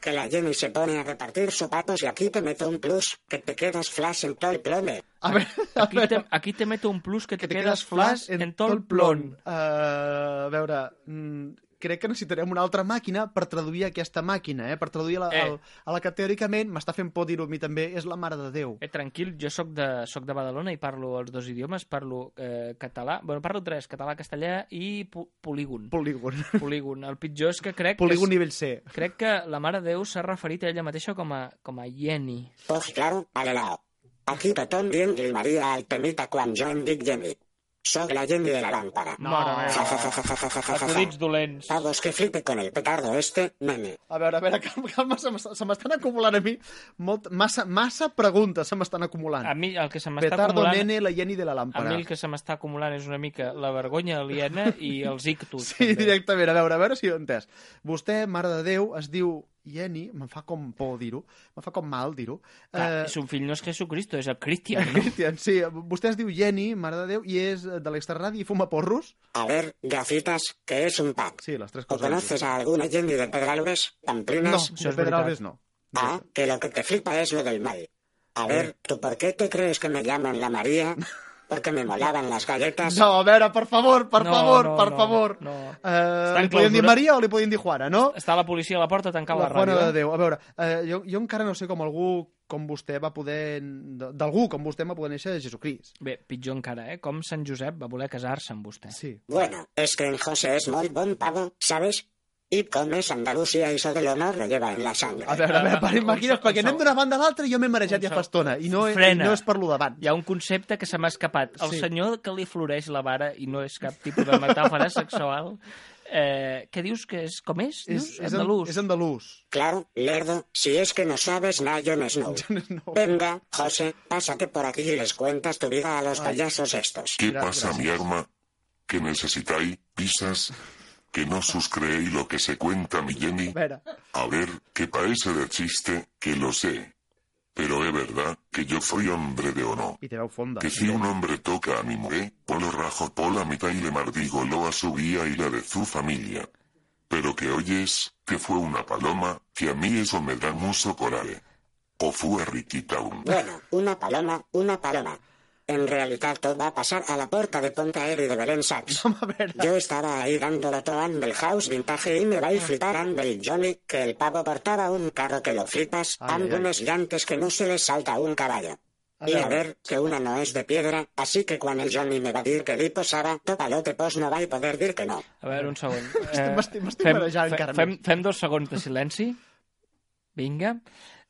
Speaker 9: Que la Jenny se pone a repartir sopapos y aquí te meto un plus, que te quedas flash en todo el plome.
Speaker 1: A veure, a
Speaker 2: Aquí
Speaker 1: veure...
Speaker 2: te, aquí te meto un plus que,
Speaker 1: que
Speaker 2: te, quedes flash en, en tot el plon.
Speaker 1: Uh, a veure, mm, crec que necessitarem una altra màquina per traduir aquesta màquina, eh? per traduir la,
Speaker 2: Eh.
Speaker 1: eh. El, a la que teòricament, m'està fent por dir-ho a mi també, és la Mare de Déu.
Speaker 2: Eh, tranquil, jo sóc de, sóc de Badalona i parlo els dos idiomes, parlo eh, català, bueno, parlo tres, català, castellà i po- polígon.
Speaker 1: Polígon.
Speaker 2: polígon. El pitjor és que crec
Speaker 1: Polígon
Speaker 2: que,
Speaker 1: nivell C.
Speaker 2: crec que la Mare de Déu s'ha referit a ella mateixa com a, com a Jenny.
Speaker 9: Pues claro, al helado. Aquí tothom dient el Maria al Pemita quan jo em dic Jenny. Soc la Jenny de la làmpara.
Speaker 2: No, Mare
Speaker 9: Ja, ja, ja, ja, ja, ja, ja, ja, ja.
Speaker 2: dolents.
Speaker 9: Pavos que flipe con el petardo este, nene.
Speaker 1: A veure, a veure, calma, calma se m'està- se m'estan acumulant a mi molt, massa, massa preguntes se m'estan acumulant.
Speaker 2: A mi el que se m'està
Speaker 1: Petardo,
Speaker 2: acumulant...
Speaker 1: nene, la Jenny de la
Speaker 2: A
Speaker 1: làmpara.
Speaker 2: mi el que se m'està acumulant és una mica la vergonya aliena i els ictus.
Speaker 1: Sí,
Speaker 2: també.
Speaker 1: directament. A veure, a veure si ho he entès. Vostè, Mare de Déu, es diu Jenny, me'n fa com por dir-ho, me'n fa com mal dir-ho.
Speaker 2: Clar,
Speaker 1: Eh,
Speaker 2: Son fill no és Jesucristo, és el Cristian, no?
Speaker 1: Cristian, sí. Vostè es diu Jenny, mare de Déu, i és de l'extraradi i fuma porros?
Speaker 9: A ver, gafitas, que es un pack.
Speaker 1: Sí, les tres
Speaker 9: ¿O
Speaker 1: coses.
Speaker 9: conoces a alguna Jenny de Pedralbes,
Speaker 1: No,
Speaker 9: Pamplinas?
Speaker 1: de Pedralbes no.
Speaker 9: Ah, que lo que te flipa es lo del mal. A
Speaker 1: Eh.
Speaker 9: ver, ¿tú por qué te crees que me llaman la María? ¿Porque me molaban las galletas?
Speaker 1: No, a veure, per favor, per
Speaker 2: No,
Speaker 1: favor,
Speaker 2: no,
Speaker 1: per
Speaker 2: no,
Speaker 1: favor.
Speaker 2: no.
Speaker 1: Eh,
Speaker 2: Està
Speaker 1: li podien dir
Speaker 2: enclausurat.
Speaker 1: Maria o li podien dir Juana, no?
Speaker 2: Està la policia a la porta tancant la,
Speaker 1: La
Speaker 2: ràdio.
Speaker 1: Juana de
Speaker 2: eh?
Speaker 1: Déu. A veure, eh, jo, jo encara no sé com algú com vostè va poder... d- D'algú com vostè va poder néixer Jesucrist.
Speaker 2: Bé, pitjor encara, eh? Com Sant Josep va voler casar-se amb vostè.
Speaker 1: Sí.
Speaker 9: Bueno, es que en José es muy bon pavo, ¿sabes? Y como es Andalucía y eso del honor lo lleva en la sangre.
Speaker 1: A veure, a veure, per
Speaker 2: Un
Speaker 1: imagines,
Speaker 2: segon,
Speaker 1: perquè
Speaker 2: un
Speaker 1: anem
Speaker 2: segon.
Speaker 1: d'una banda a l'altra i jo m'he marejat
Speaker 2: Un
Speaker 1: ja fa
Speaker 2: segon.
Speaker 1: estona. I no, i
Speaker 2: Frena.
Speaker 1: no és per lo davant.
Speaker 2: Hi ha un concepte que se m'ha escapat. El
Speaker 1: Sí.
Speaker 2: senyor que li floreix la vara i no és cap tipus de metàfora sexual, eh, què dius que és? Com és? dius?
Speaker 1: és,
Speaker 2: Andalús.
Speaker 1: és andalús.
Speaker 9: Claro, lerdo, si es que no sabes nada, Jon Snow.
Speaker 1: No.
Speaker 9: Venga, José, pásate por aquí y les cuentas tu vida a los payasos estos.
Speaker 10: ¿Qué
Speaker 1: Gra-
Speaker 10: pasa, mi arma? ¿Que necesitáis pizzas? ¿Que no sus creéis lo que se cuenta mi Jenny?
Speaker 1: A veure,
Speaker 10: A ver, que parece de chiste, que lo sé. Pero es verdad que yo fui hombre de honor.
Speaker 1: i té veu fonda.
Speaker 10: Que si un hombre toca a mi mujer, polo rajo por la mitad y le mardigo lo a su guía y la de su familia. Pero que oyes, que fue una paloma, que a mí eso me da mucho coraje. O fue riquita un.
Speaker 9: Bueno, una paloma, una paloma. En realidad todo va a pasar a la puerta de Pontaer y de Belén Sachs.
Speaker 1: A veure,
Speaker 9: Yo estaba ahí dándolo todo a Amble House Vintage y me
Speaker 1: Ah.
Speaker 9: va a flipar Amble Johnny que el pavo portaba un carro que lo flipas,
Speaker 1: Ay, ay, ay.
Speaker 9: algunos llantes que no se les salta un caballo.
Speaker 1: A
Speaker 9: Y a
Speaker 1: veure.
Speaker 9: ver, que una no es de piedra, así que cuando el Johnny me va a decir que li posaba, topalote pos no va a poder dir que no.
Speaker 2: A veure, un segon. Eh,
Speaker 1: m'estic- m'estic
Speaker 2: fem-
Speaker 1: marejant
Speaker 2: fe-
Speaker 1: encara
Speaker 2: Fem,
Speaker 1: més.
Speaker 2: fem dos segons de silenci. Vinga.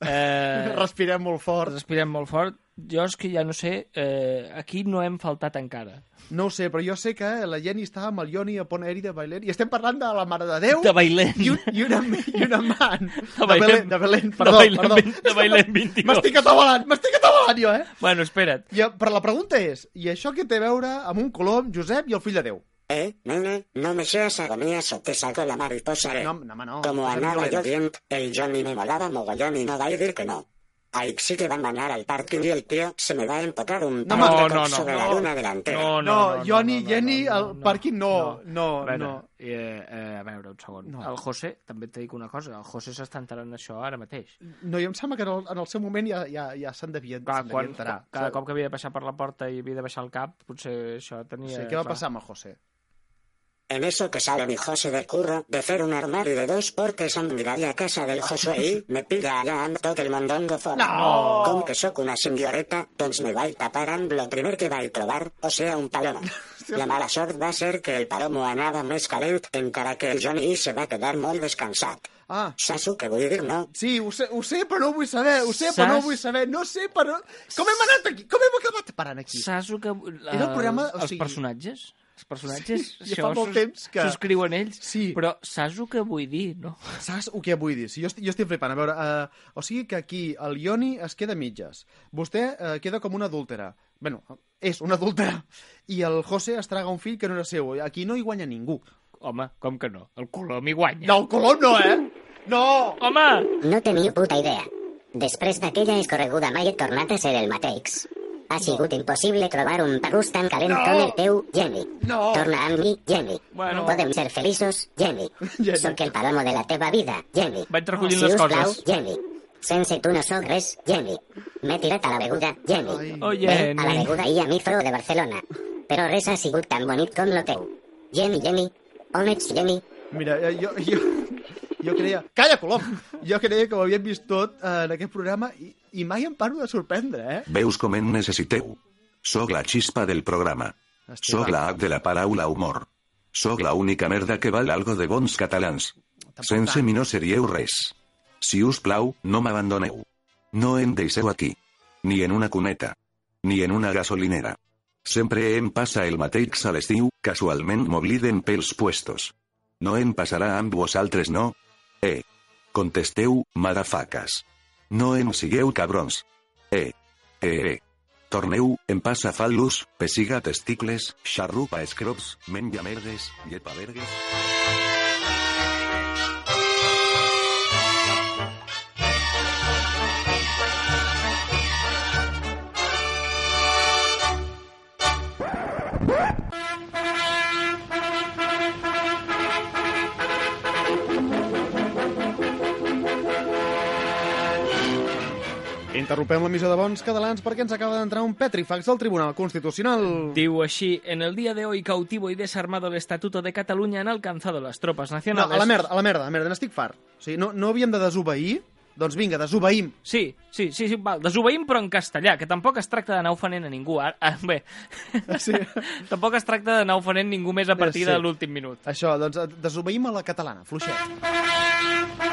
Speaker 2: Eh,
Speaker 1: respirem molt fort.
Speaker 2: respirem molt fort. Jo és que ja no sé, eh, aquí no hem faltat encara.
Speaker 1: No ho sé, però jo sé que la Jenny estava amb el Ioni a Pont Aeri de Bailén i estem parlant de la Mare de Déu
Speaker 2: De Bailén.
Speaker 1: i, un, i, una, i una man. De
Speaker 2: Bailén.
Speaker 1: Belén, de Belén,
Speaker 2: De
Speaker 1: perdó,
Speaker 2: Bailén
Speaker 1: perdó.
Speaker 2: vint- de Bailén 22.
Speaker 1: M'estic atabalant, m'estic atabalant jo, eh?
Speaker 2: Bueno, espera't.
Speaker 1: I, però la pregunta és, i això què té a veure amb un colom, Josep i el fill de Déu?
Speaker 9: Eh, nene, no me seas agonías o te saco la mariposa. eh.
Speaker 1: No, no, home, no.
Speaker 9: Como
Speaker 1: no
Speaker 9: a
Speaker 1: sent
Speaker 9: nada yo
Speaker 1: violents.
Speaker 9: bien, el Johnny me molaba mogollón y no va a decir que no. Ahí sí que va a manar al parking y el tío se me va a empotar un
Speaker 1: No,
Speaker 9: par de
Speaker 1: no,
Speaker 9: cops
Speaker 1: no, no,
Speaker 9: sobre la
Speaker 1: no.
Speaker 9: luna delantera.
Speaker 1: No, Johnny, Jenny, al el pàrquing, no, no,
Speaker 2: A veure,
Speaker 1: Oh, no.
Speaker 2: eh, eh, a veure, un segon.
Speaker 1: No.
Speaker 2: El José, també et dic una cosa, el José s'està enterant d'això ara mateix.
Speaker 1: No, jo em sembla que en el, en el seu moment ja, ja, ja se'n devia,
Speaker 2: Clar,
Speaker 1: se'n devia
Speaker 2: quan,
Speaker 1: enterar.
Speaker 2: cada cop que havia de passar per la porta i havia de baixar el cap, potser això tenia...
Speaker 1: Sí, què
Speaker 2: clar.
Speaker 1: va passar amb el José?
Speaker 9: En eso que sale mi José de curro, de hacer un armario de dos portes andraría a casa del Josué y me pilla allá ando todo el mondongo fora.
Speaker 1: No.
Speaker 9: Com que sóc una senyoreta, doncs me vaig tapar amb lo primer que vaig trobar, o sea, un palomo. La mala sort va ser que el palomo anava més calent encara que el Johnny se va quedar molt descansat.
Speaker 1: Ah,
Speaker 9: Saps el que vull dir, no?
Speaker 1: sí, ho sé, ho sé, però no ho vull saber, ho sé, però no ho
Speaker 2: Saps?
Speaker 1: vull saber, no sé, però... Com hem anat aquí? Com hem acabat parant aquí?
Speaker 2: Saps el que...
Speaker 1: Era el programa, o
Speaker 2: Els, els
Speaker 1: sigui-
Speaker 2: personatges? Els personatges,
Speaker 1: Sí, ja fa molt temps que-
Speaker 2: s'escriuen ells,
Speaker 1: Sí.
Speaker 2: però saps el que vull dir, no?
Speaker 1: Saps el que vull dir? Si jo, estic, jo estic flipant. A veure, uh, o sigui que aquí el Ioni es queda a mitges. Vostè uh, queda com una adúltera. bueno, és una adúltera. I el José es traga un fill que no era seu. Aquí no hi guanya ningú.
Speaker 2: Home, com que no? El color m'hi guanya.
Speaker 1: No, el Colom no, eh? No!
Speaker 2: Home!
Speaker 11: No teniu puta idea. Després d'aquella escorreguda mai he tornat a ser el mateix. Ha sigut impossible trobar un perrús tan calent
Speaker 1: No!
Speaker 11: com el teu, Jenny.
Speaker 1: No!
Speaker 11: Torna amb mi, Jenny.
Speaker 2: Bueno.
Speaker 11: Podem ser feliços, Jenny.
Speaker 1: Jenny.
Speaker 11: Sóc el palomo de la teva vida, Jenny.
Speaker 2: Vaig recollint
Speaker 11: si
Speaker 2: les
Speaker 11: us
Speaker 2: coses.
Speaker 11: Plau, Jenny. Sense tu no sóc res, Jenny. M'he tirat a la beguda, Jenny.
Speaker 1: Ai.
Speaker 2: Oh,
Speaker 11: Bé, a la
Speaker 2: Jenny.
Speaker 11: beguda i a Mifro de Barcelona. Però res ha sigut tan bonic com lo teu. Jenny, Jenny. On ets, Jenny?
Speaker 1: Mira, eh, jo, jo, jo creia... Calla, Colom! Jo creia que ho havíem vist tot eh, en aquest programa i, i mai em paro de sorprendre, eh?
Speaker 8: Veus com en necessiteu. Soc la xispa del programa. Soc la app de la paraula humor. Soc la única merda que val algo de bons catalans. Sense mi no seríeu res. Si us plau, no m'abandoneu. No em deixeu aquí. Ni en una cuneta. Ni en una gasolinera. Sempre em passa el mateix a l'estiu, casualment m'obliden pels puestos. No em passarà amb vosaltres, no? Eh. Contesteu, madafaques. No em sigueu cabrons. Eh. Eh, eh. Torneu, em passa fal·lus, pessiga testicles, xarrupa escrops, menja merdes, llepa vergues...
Speaker 1: Interrompem l'emissió de Bons Catalans perquè ens acaba d'entrar un petrifax del Tribunal Constitucional.
Speaker 2: Digo así, en el día de hoy cautivo y desarmado el Estatuto de Cataluña han alcanzado las tropas
Speaker 1: No,
Speaker 2: nacionales.
Speaker 1: a la merda, a la merda, a la merda, n'estic fart. O sigui, no, no havíem de desobeir? Doncs vinga, desobeïm.
Speaker 2: Sí, sí, sí, sí, val, desobeïm però en castellà, que tampoc es tracta d'anar ofenent a ningú. Ara, ah, bé,
Speaker 1: Sí.
Speaker 2: tampoc es tracta d'anar ofenent ningú més a partir
Speaker 1: Sí.
Speaker 2: de l'últim minut.
Speaker 1: Això, doncs eh, desobeïm a la catalana, fluixet.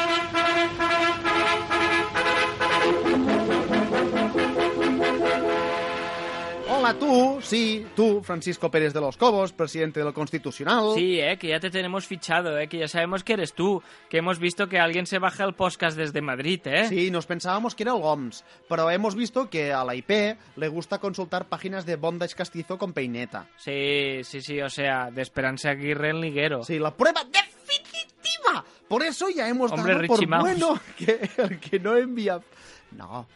Speaker 1: Hola, tu, sí, tu, Francisco Pérez de los Cobos, presidente del Constitucional.
Speaker 2: Sí, eh, que ya te tenemos fichado, eh, que ya sabemos que eres tú, que hemos visto que alguien se baja el podcast desde Madrid, eh.
Speaker 1: Sí, nos pensábamos que era el GOMS, pero hemos visto que a la IP le gusta consultar páginas de bondage castizo con peineta.
Speaker 2: Sí, sí, sí, o sea, de Esperanza Aguirre en Liguero.
Speaker 1: Sí, la prueba definitiva. Por eso ya hemos
Speaker 2: Hombre,
Speaker 1: dado
Speaker 2: Richie
Speaker 1: por
Speaker 2: Mouse.
Speaker 1: bueno que el que no envía... No,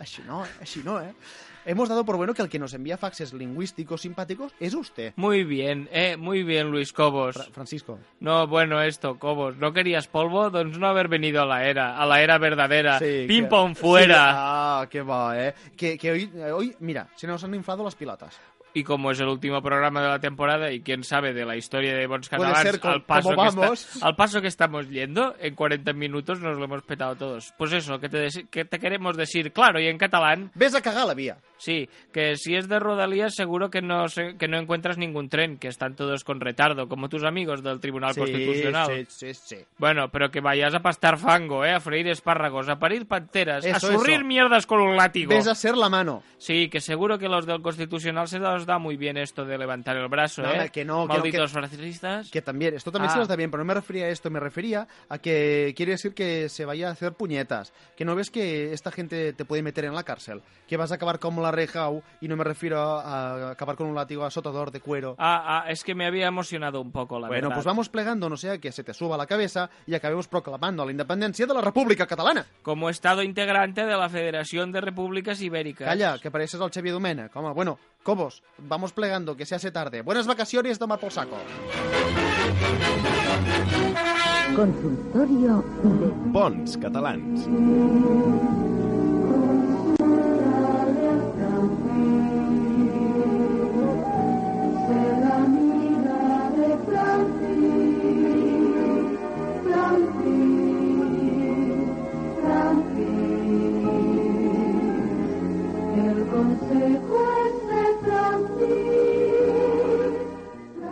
Speaker 1: así no, así no, ¿eh? Hemos dado por bueno que el que nos envía faxes lingüísticos simpáticos es usted,
Speaker 2: Muy bien, eh, muy bien, Luis Cobos.
Speaker 1: Fra- Francisco.
Speaker 2: No, bueno, esto, Cobos, ¿no querías polvo? Doncs no haber venido a la era, a la era verdadera. Pim
Speaker 1: que-
Speaker 2: pong
Speaker 1: sí,
Speaker 2: fuera.
Speaker 1: eh, ah, qué va, ¿eh? Que, que hoy, hoy, mira, se nos han inflado las pilotas.
Speaker 2: y como es el último programa de la temporada y quién sabe de la historia de Bons
Speaker 6: Puede
Speaker 2: Catalans,
Speaker 6: ser, co-
Speaker 2: al, paso
Speaker 6: como
Speaker 2: que está-
Speaker 6: vamos.
Speaker 2: al paso que estamos yendo, en 40 minutos nos lo hemos petado todos. Pues eso, que te, desi- que te queremos decir, claro, y en catalán...
Speaker 1: Ves a cagar la vía.
Speaker 2: Sí, que si es de Rodalías seguro que no, se- que no encuentras ningún tren, que están todos con retardo, como tus amigos del Tribunal Constitucional.
Speaker 1: Sí, sí, sí.
Speaker 2: Bueno, pero que vayas a pastar fango, ¿eh? A freír espárragos, a parir panteras, a
Speaker 1: Eso,
Speaker 2: surrir
Speaker 1: eso.
Speaker 2: mierdas con un látigo.
Speaker 1: Ves a ser la mano.
Speaker 2: Sí, que seguro que los del Constitucional se los da muy bien esto de levantar el brazo,
Speaker 1: No,
Speaker 2: ¿eh?
Speaker 1: hombre, que no, que no,
Speaker 2: Malditos
Speaker 1: que-
Speaker 2: fascistas.
Speaker 1: Que también, esto también
Speaker 2: Ah.
Speaker 1: se las da bien, pero no me refería a esto, me refería a que quiere decir que se vaya a hacer puñetas, que no ves que esta gente te puede meter en la cárcel, que vas a acabar como la rejau y no me refiero a, a acabar con un látigo azotador de cuero.
Speaker 2: Ah, ah, es que me había emocionado un poco, la
Speaker 1: bueno,
Speaker 2: verdad.
Speaker 1: pues vamos plegando, no sea que se te suba la cabeza y acabemos proclamando la independencia de la República Catalana.
Speaker 2: Como Estado integrante de la Federación de Repúblicas Ibéricas.
Speaker 1: Calla, que pareces al Xavier Domènech, home. Bueno, Cobos, vamos plegando, que se hace tarde. Buenas vacaciones, toma por saco.
Speaker 12: Consultorio de
Speaker 3: Bons catalans.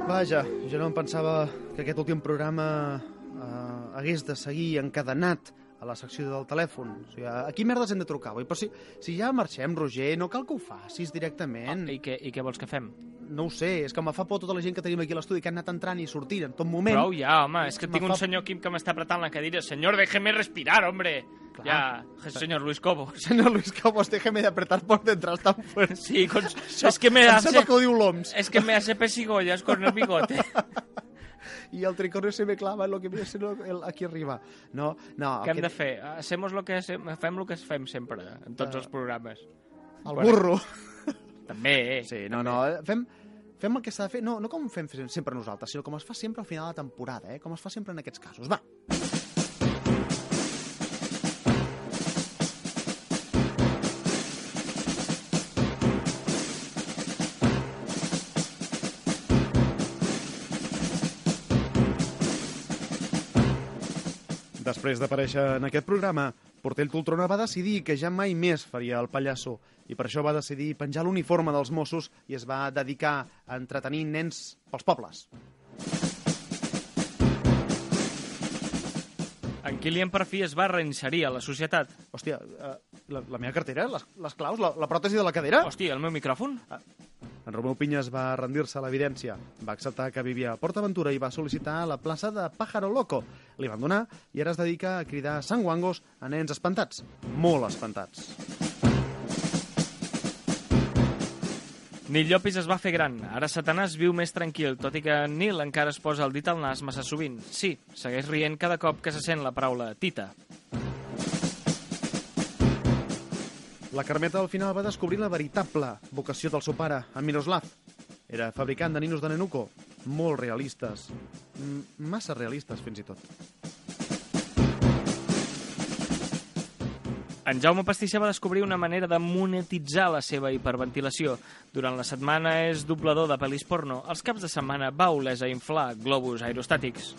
Speaker 1: Vaja, jo no em pensava que aquest últim programa eh, hagués de seguir encadenat a la secció del telèfon. O sigui, a qui merdes hem de trucar avui? Però si, si ja marxem, Roger, no cal que ho facis directament.
Speaker 2: Ah, I què, I què vols que fem?
Speaker 1: No ho sé, és que me fa por tota la gent que tenim aquí a l'estudi, que han anat entrant i sortint en tot moment.
Speaker 2: Prou ja, home, és que
Speaker 1: Me
Speaker 2: tinc
Speaker 1: fa-
Speaker 2: un senyor Quim que m'està apretant la cadira. Senyor, déjeme respirar, hombre. Ja, senyor Luis Cobos.
Speaker 1: Senyor Luis Cobos, déjeme de apretar por detrás tan fuerte.
Speaker 2: Sí, con... és que me
Speaker 1: em
Speaker 2: hace...
Speaker 1: sembla que ho diu l'OMS.
Speaker 2: És eh? que me hace pesigollas con el bigote.
Speaker 1: Y el tricornio se me clava en lo que viene siendo el- aquí arriba. No, Ah, no.
Speaker 2: Què hem
Speaker 1: aquest-
Speaker 2: de fer? Hacemos lo que hacem, fem lo que fem sempre, en tots
Speaker 1: Eh,
Speaker 2: els programes.
Speaker 1: El burro.
Speaker 2: També, eh?
Speaker 1: Sí, no, no. eh, Fem, fem el que s'ha de fer, no, no com fem sempre nosaltres, sinó com es fa sempre al final de la temporada, eh? com es fa sempre en aquests casos. Va. Després d'aparèixer en aquest programa, Portell Poltrona va decidir que ja mai més faria el pallasso i per això va decidir penjar l'uniforme dels Mossos i es va dedicar a entretenir nens pels pobles.
Speaker 2: En Kilian per fi es va reinserir a la societat.
Speaker 1: Hòstia, eh, la, la meva cartera, les, les claus, la, la pròtesi de la cadera... Ah.
Speaker 2: Hòstia, el meu micròfon?
Speaker 1: En Romeu Pinyes va rendir-se a l'evidència. Va acceptar que vivia a Port Aventura i va sol·licitar la plaça de Pájaro Loco. Li van donar i ara es dedica a cridar sanguangos a nens espantats. Molt espantats.
Speaker 2: Nil Llopis es va fer gran. Ara Satanàs viu més tranquil, tot i que en Nil encara es posa el dit al nas massa sovint. Sí, segueix rient cada cop que se sent la paraula tita.
Speaker 1: La Carmeta al final va descobrir la veritable vocació del seu pare, en Miroslav. Era fabricant de ninos de nenuco, molt realistes. Mm, massa realistes, fins i tot.
Speaker 2: En Jaume Pastisser va descobrir una manera de monetitzar la seva hiperventilació. Durant la setmana és doblador de pel·lis porno. Els caps de setmana va oles a inflar globus aerostàtics.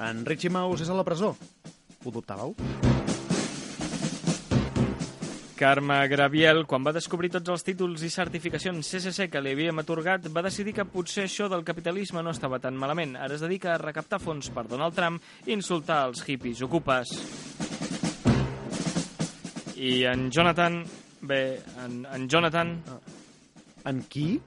Speaker 1: En Richie Mouse és a la presó. Ho dubtàveu?
Speaker 2: Carme Graviel, quan va descobrir tots els títols i certificacions CCC que li havíem atorgat, va decidir que potser això del capitalisme no estava tan malament. Ara es dedica a recaptar fons per Donald Trump i insultar els hippies ocupes. I en Jonathan... Bé, en, en Jonathan...
Speaker 1: Ah. En qui?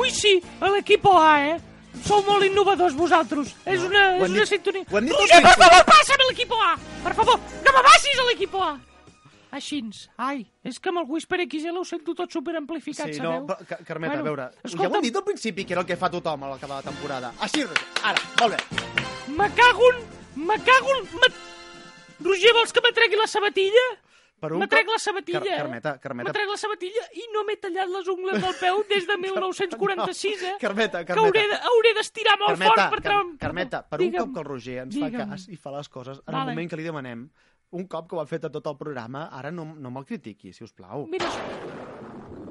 Speaker 13: Ui, sí, a l'equip A, eh? Sou molt innovadors vosaltres. És una, és
Speaker 1: ho hem
Speaker 13: una
Speaker 1: dit-
Speaker 13: sintonia.
Speaker 1: ho hem dit
Speaker 13: Rússia,
Speaker 1: tots
Speaker 13: per
Speaker 1: junts.
Speaker 13: favor, passa'm a l'equip A! Per favor, no me baixis a l'equip A! Aixins. Ai, és que amb el Whisper XL ho sento tot superamplificat,
Speaker 1: Sí, no,
Speaker 13: sabeu?
Speaker 1: però, Ca- Carmeta, a veure, ja ho
Speaker 13: escolta'm.
Speaker 1: hem dit al principi, que era el que fa tothom a l'acabar la temporada. Així, ara, molt bé.
Speaker 13: Me cago en... Me cago en... Me... Roger, vols que me tregui la sabatilla?
Speaker 1: Per
Speaker 13: Me trec la sabatilla,
Speaker 1: Car
Speaker 13: eh?
Speaker 1: Carmeta, Carmeta...
Speaker 13: Me trec la sabatilla i no m'he tallat les ungles del peu des de 1946, eh?
Speaker 1: Carmeta,
Speaker 13: Que hauré de-
Speaker 1: Carmeta.
Speaker 13: hauré d'estirar molt
Speaker 1: Carmeta,
Speaker 13: fort per
Speaker 1: Car
Speaker 13: treure'm-
Speaker 1: Carmeta, per un
Speaker 13: Digue'm.
Speaker 1: cop que el Roger ens fa
Speaker 13: Digue'm.
Speaker 1: cas i fa les coses en
Speaker 13: Vale.
Speaker 1: el moment que li demanem, un cop que ho ha fet a tot el programa, ara no, no me'l critiqui, si us plau.
Speaker 13: Mira,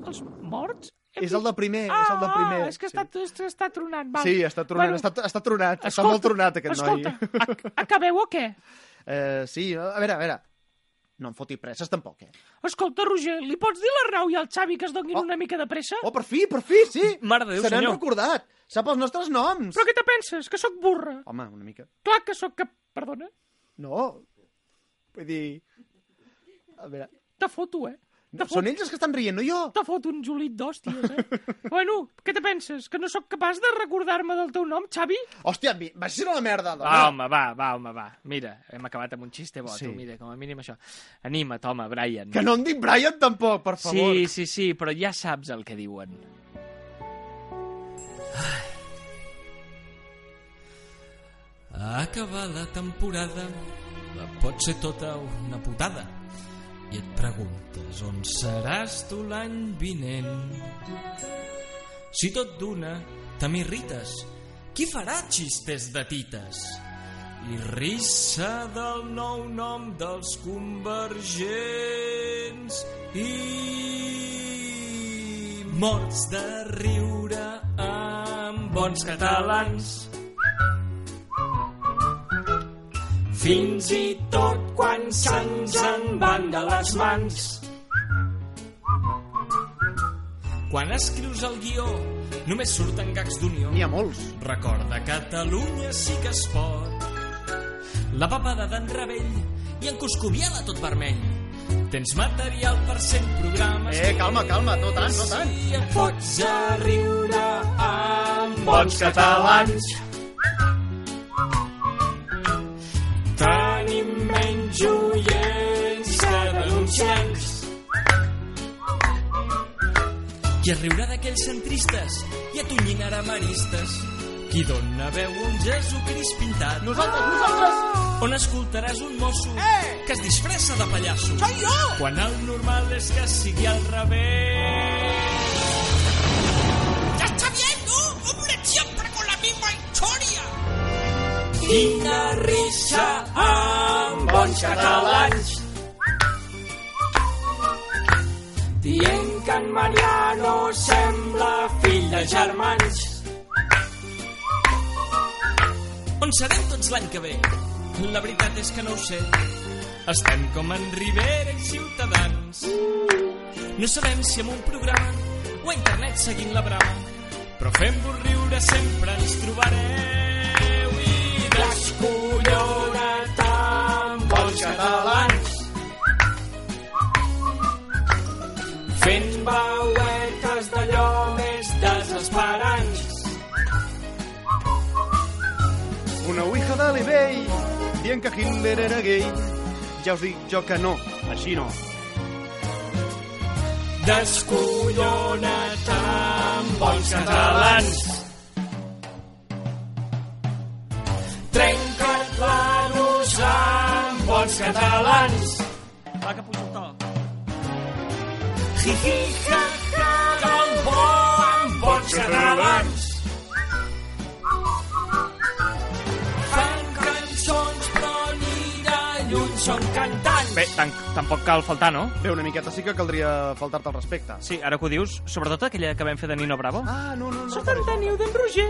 Speaker 13: els morts... Hem
Speaker 1: És el de primer,
Speaker 13: ah,
Speaker 1: és el de primer,
Speaker 13: Ah, és que està, sí. està tronant. Val.
Speaker 1: Sí, està tronat, bueno, està, està tronat, escolta, està molt tronat aquest
Speaker 13: escolta,
Speaker 1: noi.
Speaker 13: Escolta, acabeu o què?
Speaker 1: Eh, sí, a veure, a veure, no em foti presses tampoc, eh?
Speaker 13: Escolta, Roger, li pots dir a l'Arnau i al Xavi que es donguin oh. una mica de pressa?
Speaker 1: Oh, per fi, per fi, sí!
Speaker 2: Mare de Déu,
Speaker 1: Se n'han
Speaker 2: senyor.
Speaker 1: recordat! Sap els nostres noms!
Speaker 13: Però què te penses? Que sóc burra?
Speaker 1: Home, una mica.
Speaker 13: Clar que sóc cap... Perdona?
Speaker 1: No, vull dir... A veure...
Speaker 13: Te foto, eh?
Speaker 1: No, són ells els que estan rient, no jo?
Speaker 13: Te fot un julit d'hòsties, eh? bueno, què te penses? Que no sóc capaç de recordar-me del teu nom, Xavi?
Speaker 1: Hòstia, mi- vas ser una merda, dona!
Speaker 2: Va, home, va, va, home, va. Mira, hem acabat amb un xiste bo,
Speaker 1: Sí.
Speaker 2: sí. tu, mira, com a mínim això. Anima't, home, Brian.
Speaker 1: Que no em dic Brian tampoc, per favor.
Speaker 2: Sí, sí, sí, però ja saps el que diuen.
Speaker 6: Acaba la temporada, pot ser tota una putada. I et preguntes on seràs tu l'any vinent. Si tot d'una, te m'irrites. Qui farà xistes de tites? I rissa del nou nom dels convergents i morts de riure amb bons catalans. fins i tot quan se'ns en van de les mans. Quan escrius el guió, només surten gags d'unió. N'hi
Speaker 1: ha molts.
Speaker 6: Recorda, Catalunya sí que es pot. La papada d'en Rebell i en Cuscovial a tot vermell. Tens material per 100 programes.
Speaker 1: Eh, calma, calma, no tant, no tant.
Speaker 6: Si et fots a riure amb
Speaker 1: Bons
Speaker 6: bons
Speaker 1: catalans.
Speaker 6: catalans. Tenim menys oients que denunciants. Qui es riurà d'aquells centristes i atonyinarà maristes? Qui dona veu a un Jesucrist pintat?
Speaker 1: Nosaltres, nosaltres!
Speaker 6: On escoltaràs un mosso
Speaker 4: Eh!
Speaker 6: que es disfressa de pallasso?
Speaker 1: Soy jo!
Speaker 6: Quan el normal és que sigui al revés.
Speaker 12: ¡Ya está viendo! ¡Hombre, siempre con la misma historia!
Speaker 6: Quina risa amb bons catalans. Dient que en Mariano sembla fill de germans. On serem tots l'any que ve? La veritat és que no ho sé. Estem com en Rivera i Ciutadans. No sabem si amb un programa o a internet seguint la brama, però fent-vos riure sempre ens trobareu i descollona't amb bons catalans. Fent veuetes d'allò més desesperants.
Speaker 1: Una ouija de l'eBay dient que Hitler era gay. Ja us dic jo que no, així no.
Speaker 6: Descollona't amb bons catalans. Trenca't l'anus amb bons catalans.
Speaker 4: Va, que puja el to.
Speaker 6: Hi-hi, ha-ha, del bo amb bons catalans. Fan cançons però ni de lluny són cantants.
Speaker 2: Bé, tan, tampoc cal faltar, no?
Speaker 1: Bé, una miqueta sí que caldria faltar-te al respecte.
Speaker 2: Sí, ara que ho dius, sobretot aquella que vam fer de Nino Bravo.
Speaker 1: Ah, no, no, no.
Speaker 13: Sóc en Daniel d'en Roger,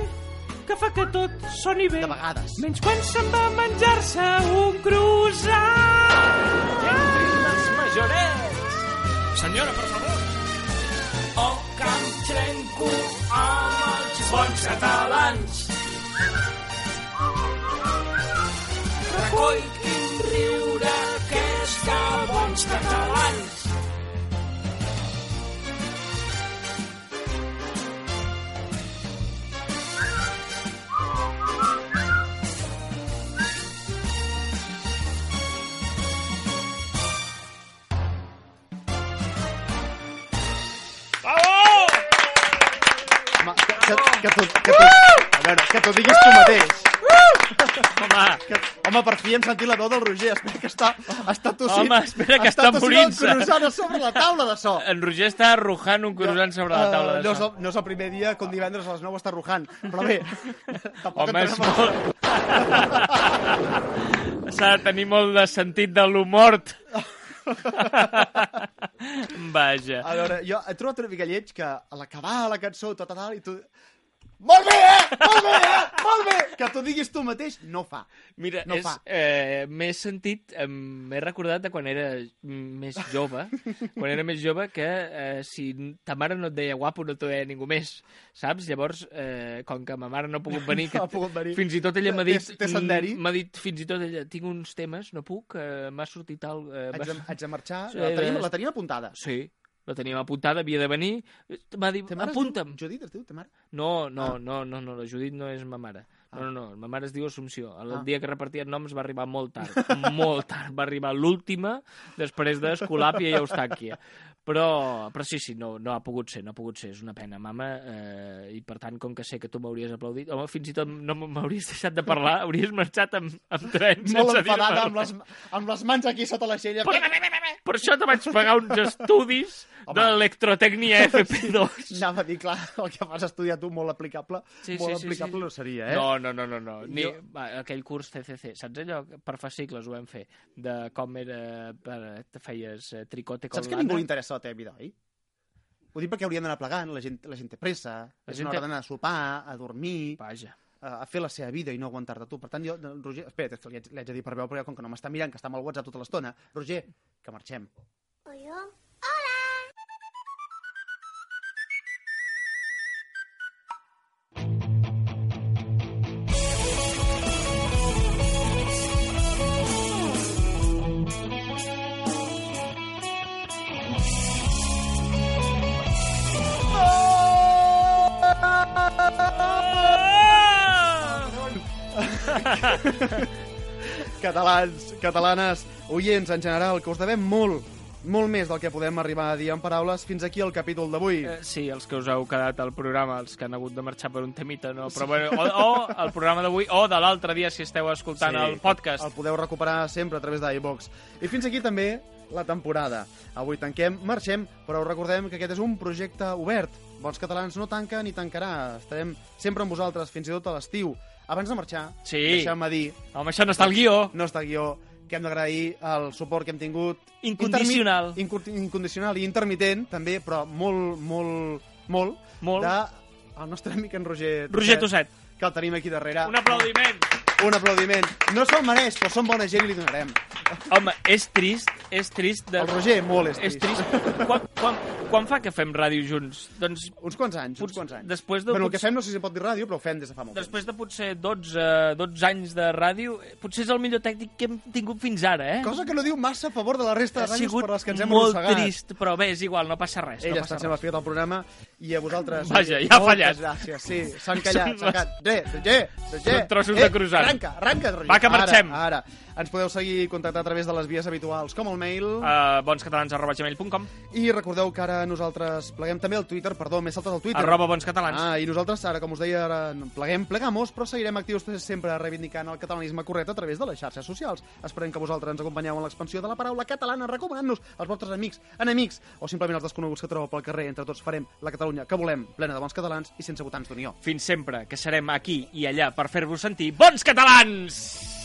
Speaker 13: que fa que tot soni bé. De
Speaker 1: vegades.
Speaker 13: Menys quan se'n va a menjar-se un croissant.
Speaker 6: Les majorets. Senyora, per favor. O que em trenco amb els bons catalans. Recoll quin riure que és que bons catalans.
Speaker 2: Uh!
Speaker 1: que, que, t'ho- que, t'ho- a veure, que t'ho diguis tu mateix. Home, que, home, per fi hem sentit la veu del Roger. Espera que està, està tossint.
Speaker 2: Home, espera que
Speaker 1: està,
Speaker 2: està
Speaker 1: tossint
Speaker 2: morint-se.
Speaker 1: el croissant a sobre la taula de so.
Speaker 2: En Roger està arrojant un croissant sobre la taula
Speaker 1: Eh,
Speaker 2: de
Speaker 1: no, és
Speaker 2: so.
Speaker 1: el, no és el primer dia que un divendres a les 9 està rujant, però bé... tampoc
Speaker 2: Home, és
Speaker 1: entrem en-
Speaker 2: molt... S'ha de tenir molt de sentit de l'humor. Vaja.
Speaker 1: A veure, Ah, jo he trobat una mica lleig que a l'acabar la cançó, tot a dalt, i tu... Molt bé, eh? Molt bé, eh? Molt bé! Que t'ho diguis tu mateix, no fa.
Speaker 2: Mira,
Speaker 1: no
Speaker 2: és,
Speaker 1: fa.
Speaker 2: eh, m'he sentit, em, m'he recordat de quan era més jove, quan era més jove, que eh, si ta mare no et deia guapo no t'ho deia ningú més, saps? Llavors, eh, com que ma mare no ha pogut venir,
Speaker 1: No ha
Speaker 2: que
Speaker 1: pogut venir.
Speaker 2: fins i tot ella m'ha
Speaker 1: Té-
Speaker 2: dit,
Speaker 1: té senderi.
Speaker 2: m'ha dit fins i tot ella, tinc uns temes, no puc, eh, m'ha sortit tal... Eh,
Speaker 1: Haig
Speaker 2: m'ha
Speaker 1: de,
Speaker 2: sortit-
Speaker 1: haig de marxar.
Speaker 2: Sí,
Speaker 1: Ah, la, tenim,
Speaker 2: eh,
Speaker 1: la tenim apuntada.
Speaker 2: Sí, la teníem apuntada, havia de venir, m'ha dit,
Speaker 1: mare es
Speaker 2: apunta'm.
Speaker 1: Judit, es diu, ta mare?
Speaker 2: No, no,
Speaker 1: Ah.
Speaker 2: no, no, no, la Judit no és ma mare. No, no, no, ma mare es diu Assumpció. El
Speaker 1: Ah.
Speaker 2: dia que repartien noms va arribar molt tard, molt tard. Va arribar l'última després d'Escolàpia i Eustàquia. Però, però sí, sí, no, no ha pogut ser, no ha pogut ser, és una pena, mama, eh, i per tant, com que sé que tu m'hauries aplaudit, home, fins i tot no m'hauries deixat de parlar, hauries marxat amb, amb tren
Speaker 1: Molt
Speaker 2: sense dir-me
Speaker 1: enfadada, amb
Speaker 2: res.
Speaker 1: les, amb les mans aquí sota la xella.
Speaker 2: Per això te vaig pagar uns estudis de l'electrotècnia FP2.
Speaker 1: Anava a dir, clar, el que vas estudiar tu molt aplicable,
Speaker 2: Sí,
Speaker 1: molt
Speaker 2: sí, sí,
Speaker 1: aplicable
Speaker 2: sí.
Speaker 1: no seria, eh?
Speaker 2: No, no, no, no, no. Ni,
Speaker 1: Jo-
Speaker 2: va, aquell curs CCC, saps allò? que Per fascicles ho vam fer, de com era... Per, te feies eh, tricote con
Speaker 1: Saps que a ningú li interessa la teva vida, oi? Ho dic perquè hauríem d'anar plegant, la gent, la gent té pressa, la, gent
Speaker 2: gent
Speaker 1: no
Speaker 2: té-
Speaker 1: hora d'anar a sopar, a dormir,
Speaker 2: Vaja.
Speaker 1: a, a fer la seva vida i no aguantar-te tu. Per tant, jo, no, Roger, espera't, és que li haig, li haig de dir per veu, perquè com que no m'està mirant, que està amb el WhatsApp tota l'estona, Roger, que marxem.
Speaker 6: 哎
Speaker 1: Catalans, catalanes, oients en general, que us devem molt, molt més del que podem arribar a dir en paraules fins aquí el capítol d'avui.
Speaker 2: Eh, sí, els que us heu quedat al programa, els que han hagut de marxar per un temita, no? Però, bueno, o, o el programa d'avui, o de l'altre dia, si esteu escoltant el podcast.
Speaker 1: El podeu recuperar sempre a través d'iVox. I fins aquí també la temporada. Avui tanquem, marxem, però us recordem que aquest és un projecte obert. Bons Catalans no tanca ni tancarà. Estarem sempre amb vosaltres, fins i tot a l'estiu. Abans de marxar,
Speaker 2: Sí.
Speaker 1: deixeu-me dir...
Speaker 2: Home, això no està al guió.
Speaker 1: No està al guió, que hem d'agrair el suport que hem tingut...
Speaker 2: Incondicional.
Speaker 1: Intermi- inco- Incondicional i intermitent, també, però molt, molt, molt...
Speaker 2: Molt.
Speaker 1: De el nostre amic en Roger...
Speaker 2: Roger Tosset.
Speaker 1: Que el tenim aquí darrere.
Speaker 2: Un aplaudiment.
Speaker 1: Un aplaudiment. No se'l mereix, però som bona gent i li donarem.
Speaker 2: Home, és trist, és trist... De...
Speaker 1: El Roger molt és trist.
Speaker 2: És trist. Quan, quan, quan fa que fem ràdio junts? Doncs...
Speaker 1: Uns quants anys, uns quants anys.
Speaker 2: Després de...
Speaker 1: Però el que
Speaker 2: potser-
Speaker 1: fem no sé si pot dir ràdio, però ho fem des de fa molt
Speaker 2: Després de potser 12, 12 anys de ràdio, eh, potser és el millor tècnic que hem tingut fins ara, eh?
Speaker 1: temps. Cosa que no diu massa a favor de la resta
Speaker 2: ha
Speaker 1: de ràdios
Speaker 2: sigut
Speaker 1: per les que ens hem
Speaker 2: molt
Speaker 1: arrossegat.
Speaker 2: trist, però bé, és igual, no passa res. no
Speaker 1: Ella
Speaker 2: passa
Speaker 1: està sent
Speaker 2: res.
Speaker 1: l'espirat del programa i a vosaltres...
Speaker 2: Vaja,
Speaker 1: Roger,
Speaker 2: ja ha
Speaker 1: moltes
Speaker 2: fallat.
Speaker 1: gràcies, sí. S'han callat,
Speaker 2: Són
Speaker 1: s'han
Speaker 2: les-
Speaker 1: callat. Roger, Roger, Roger.
Speaker 2: Són trossos de croissant.
Speaker 1: Eh, Arranca, arranca, Roger.
Speaker 2: Va, que marxem.
Speaker 1: Ara, ara. Ens podeu seguir i contactar a través de les vies habituals, com el mail...
Speaker 2: Uh, bonscatalans.gmail.com
Speaker 1: I recordeu que ara nosaltres pleguem també al Twitter, perdó, més saltes al Twitter.
Speaker 2: Arroba bons catalans.
Speaker 1: Ah, i nosaltres ara, com us deia, ara no pleguem, plegamos, però seguirem actius sempre reivindicant el catalanisme correcte a través de les xarxes socials. Esperem que vosaltres ens acompanyeu en l'expansió de la paraula catalana, recomanant-nos als vostres amics, enemics, o simplement als desconeguts que trobeu pel carrer. Entre tots farem la Catalunya que volem, plena de bons catalans i sense votants d'unió.
Speaker 2: Fins sempre, que serem aquí i allà per fer-vos sentir bons catalans!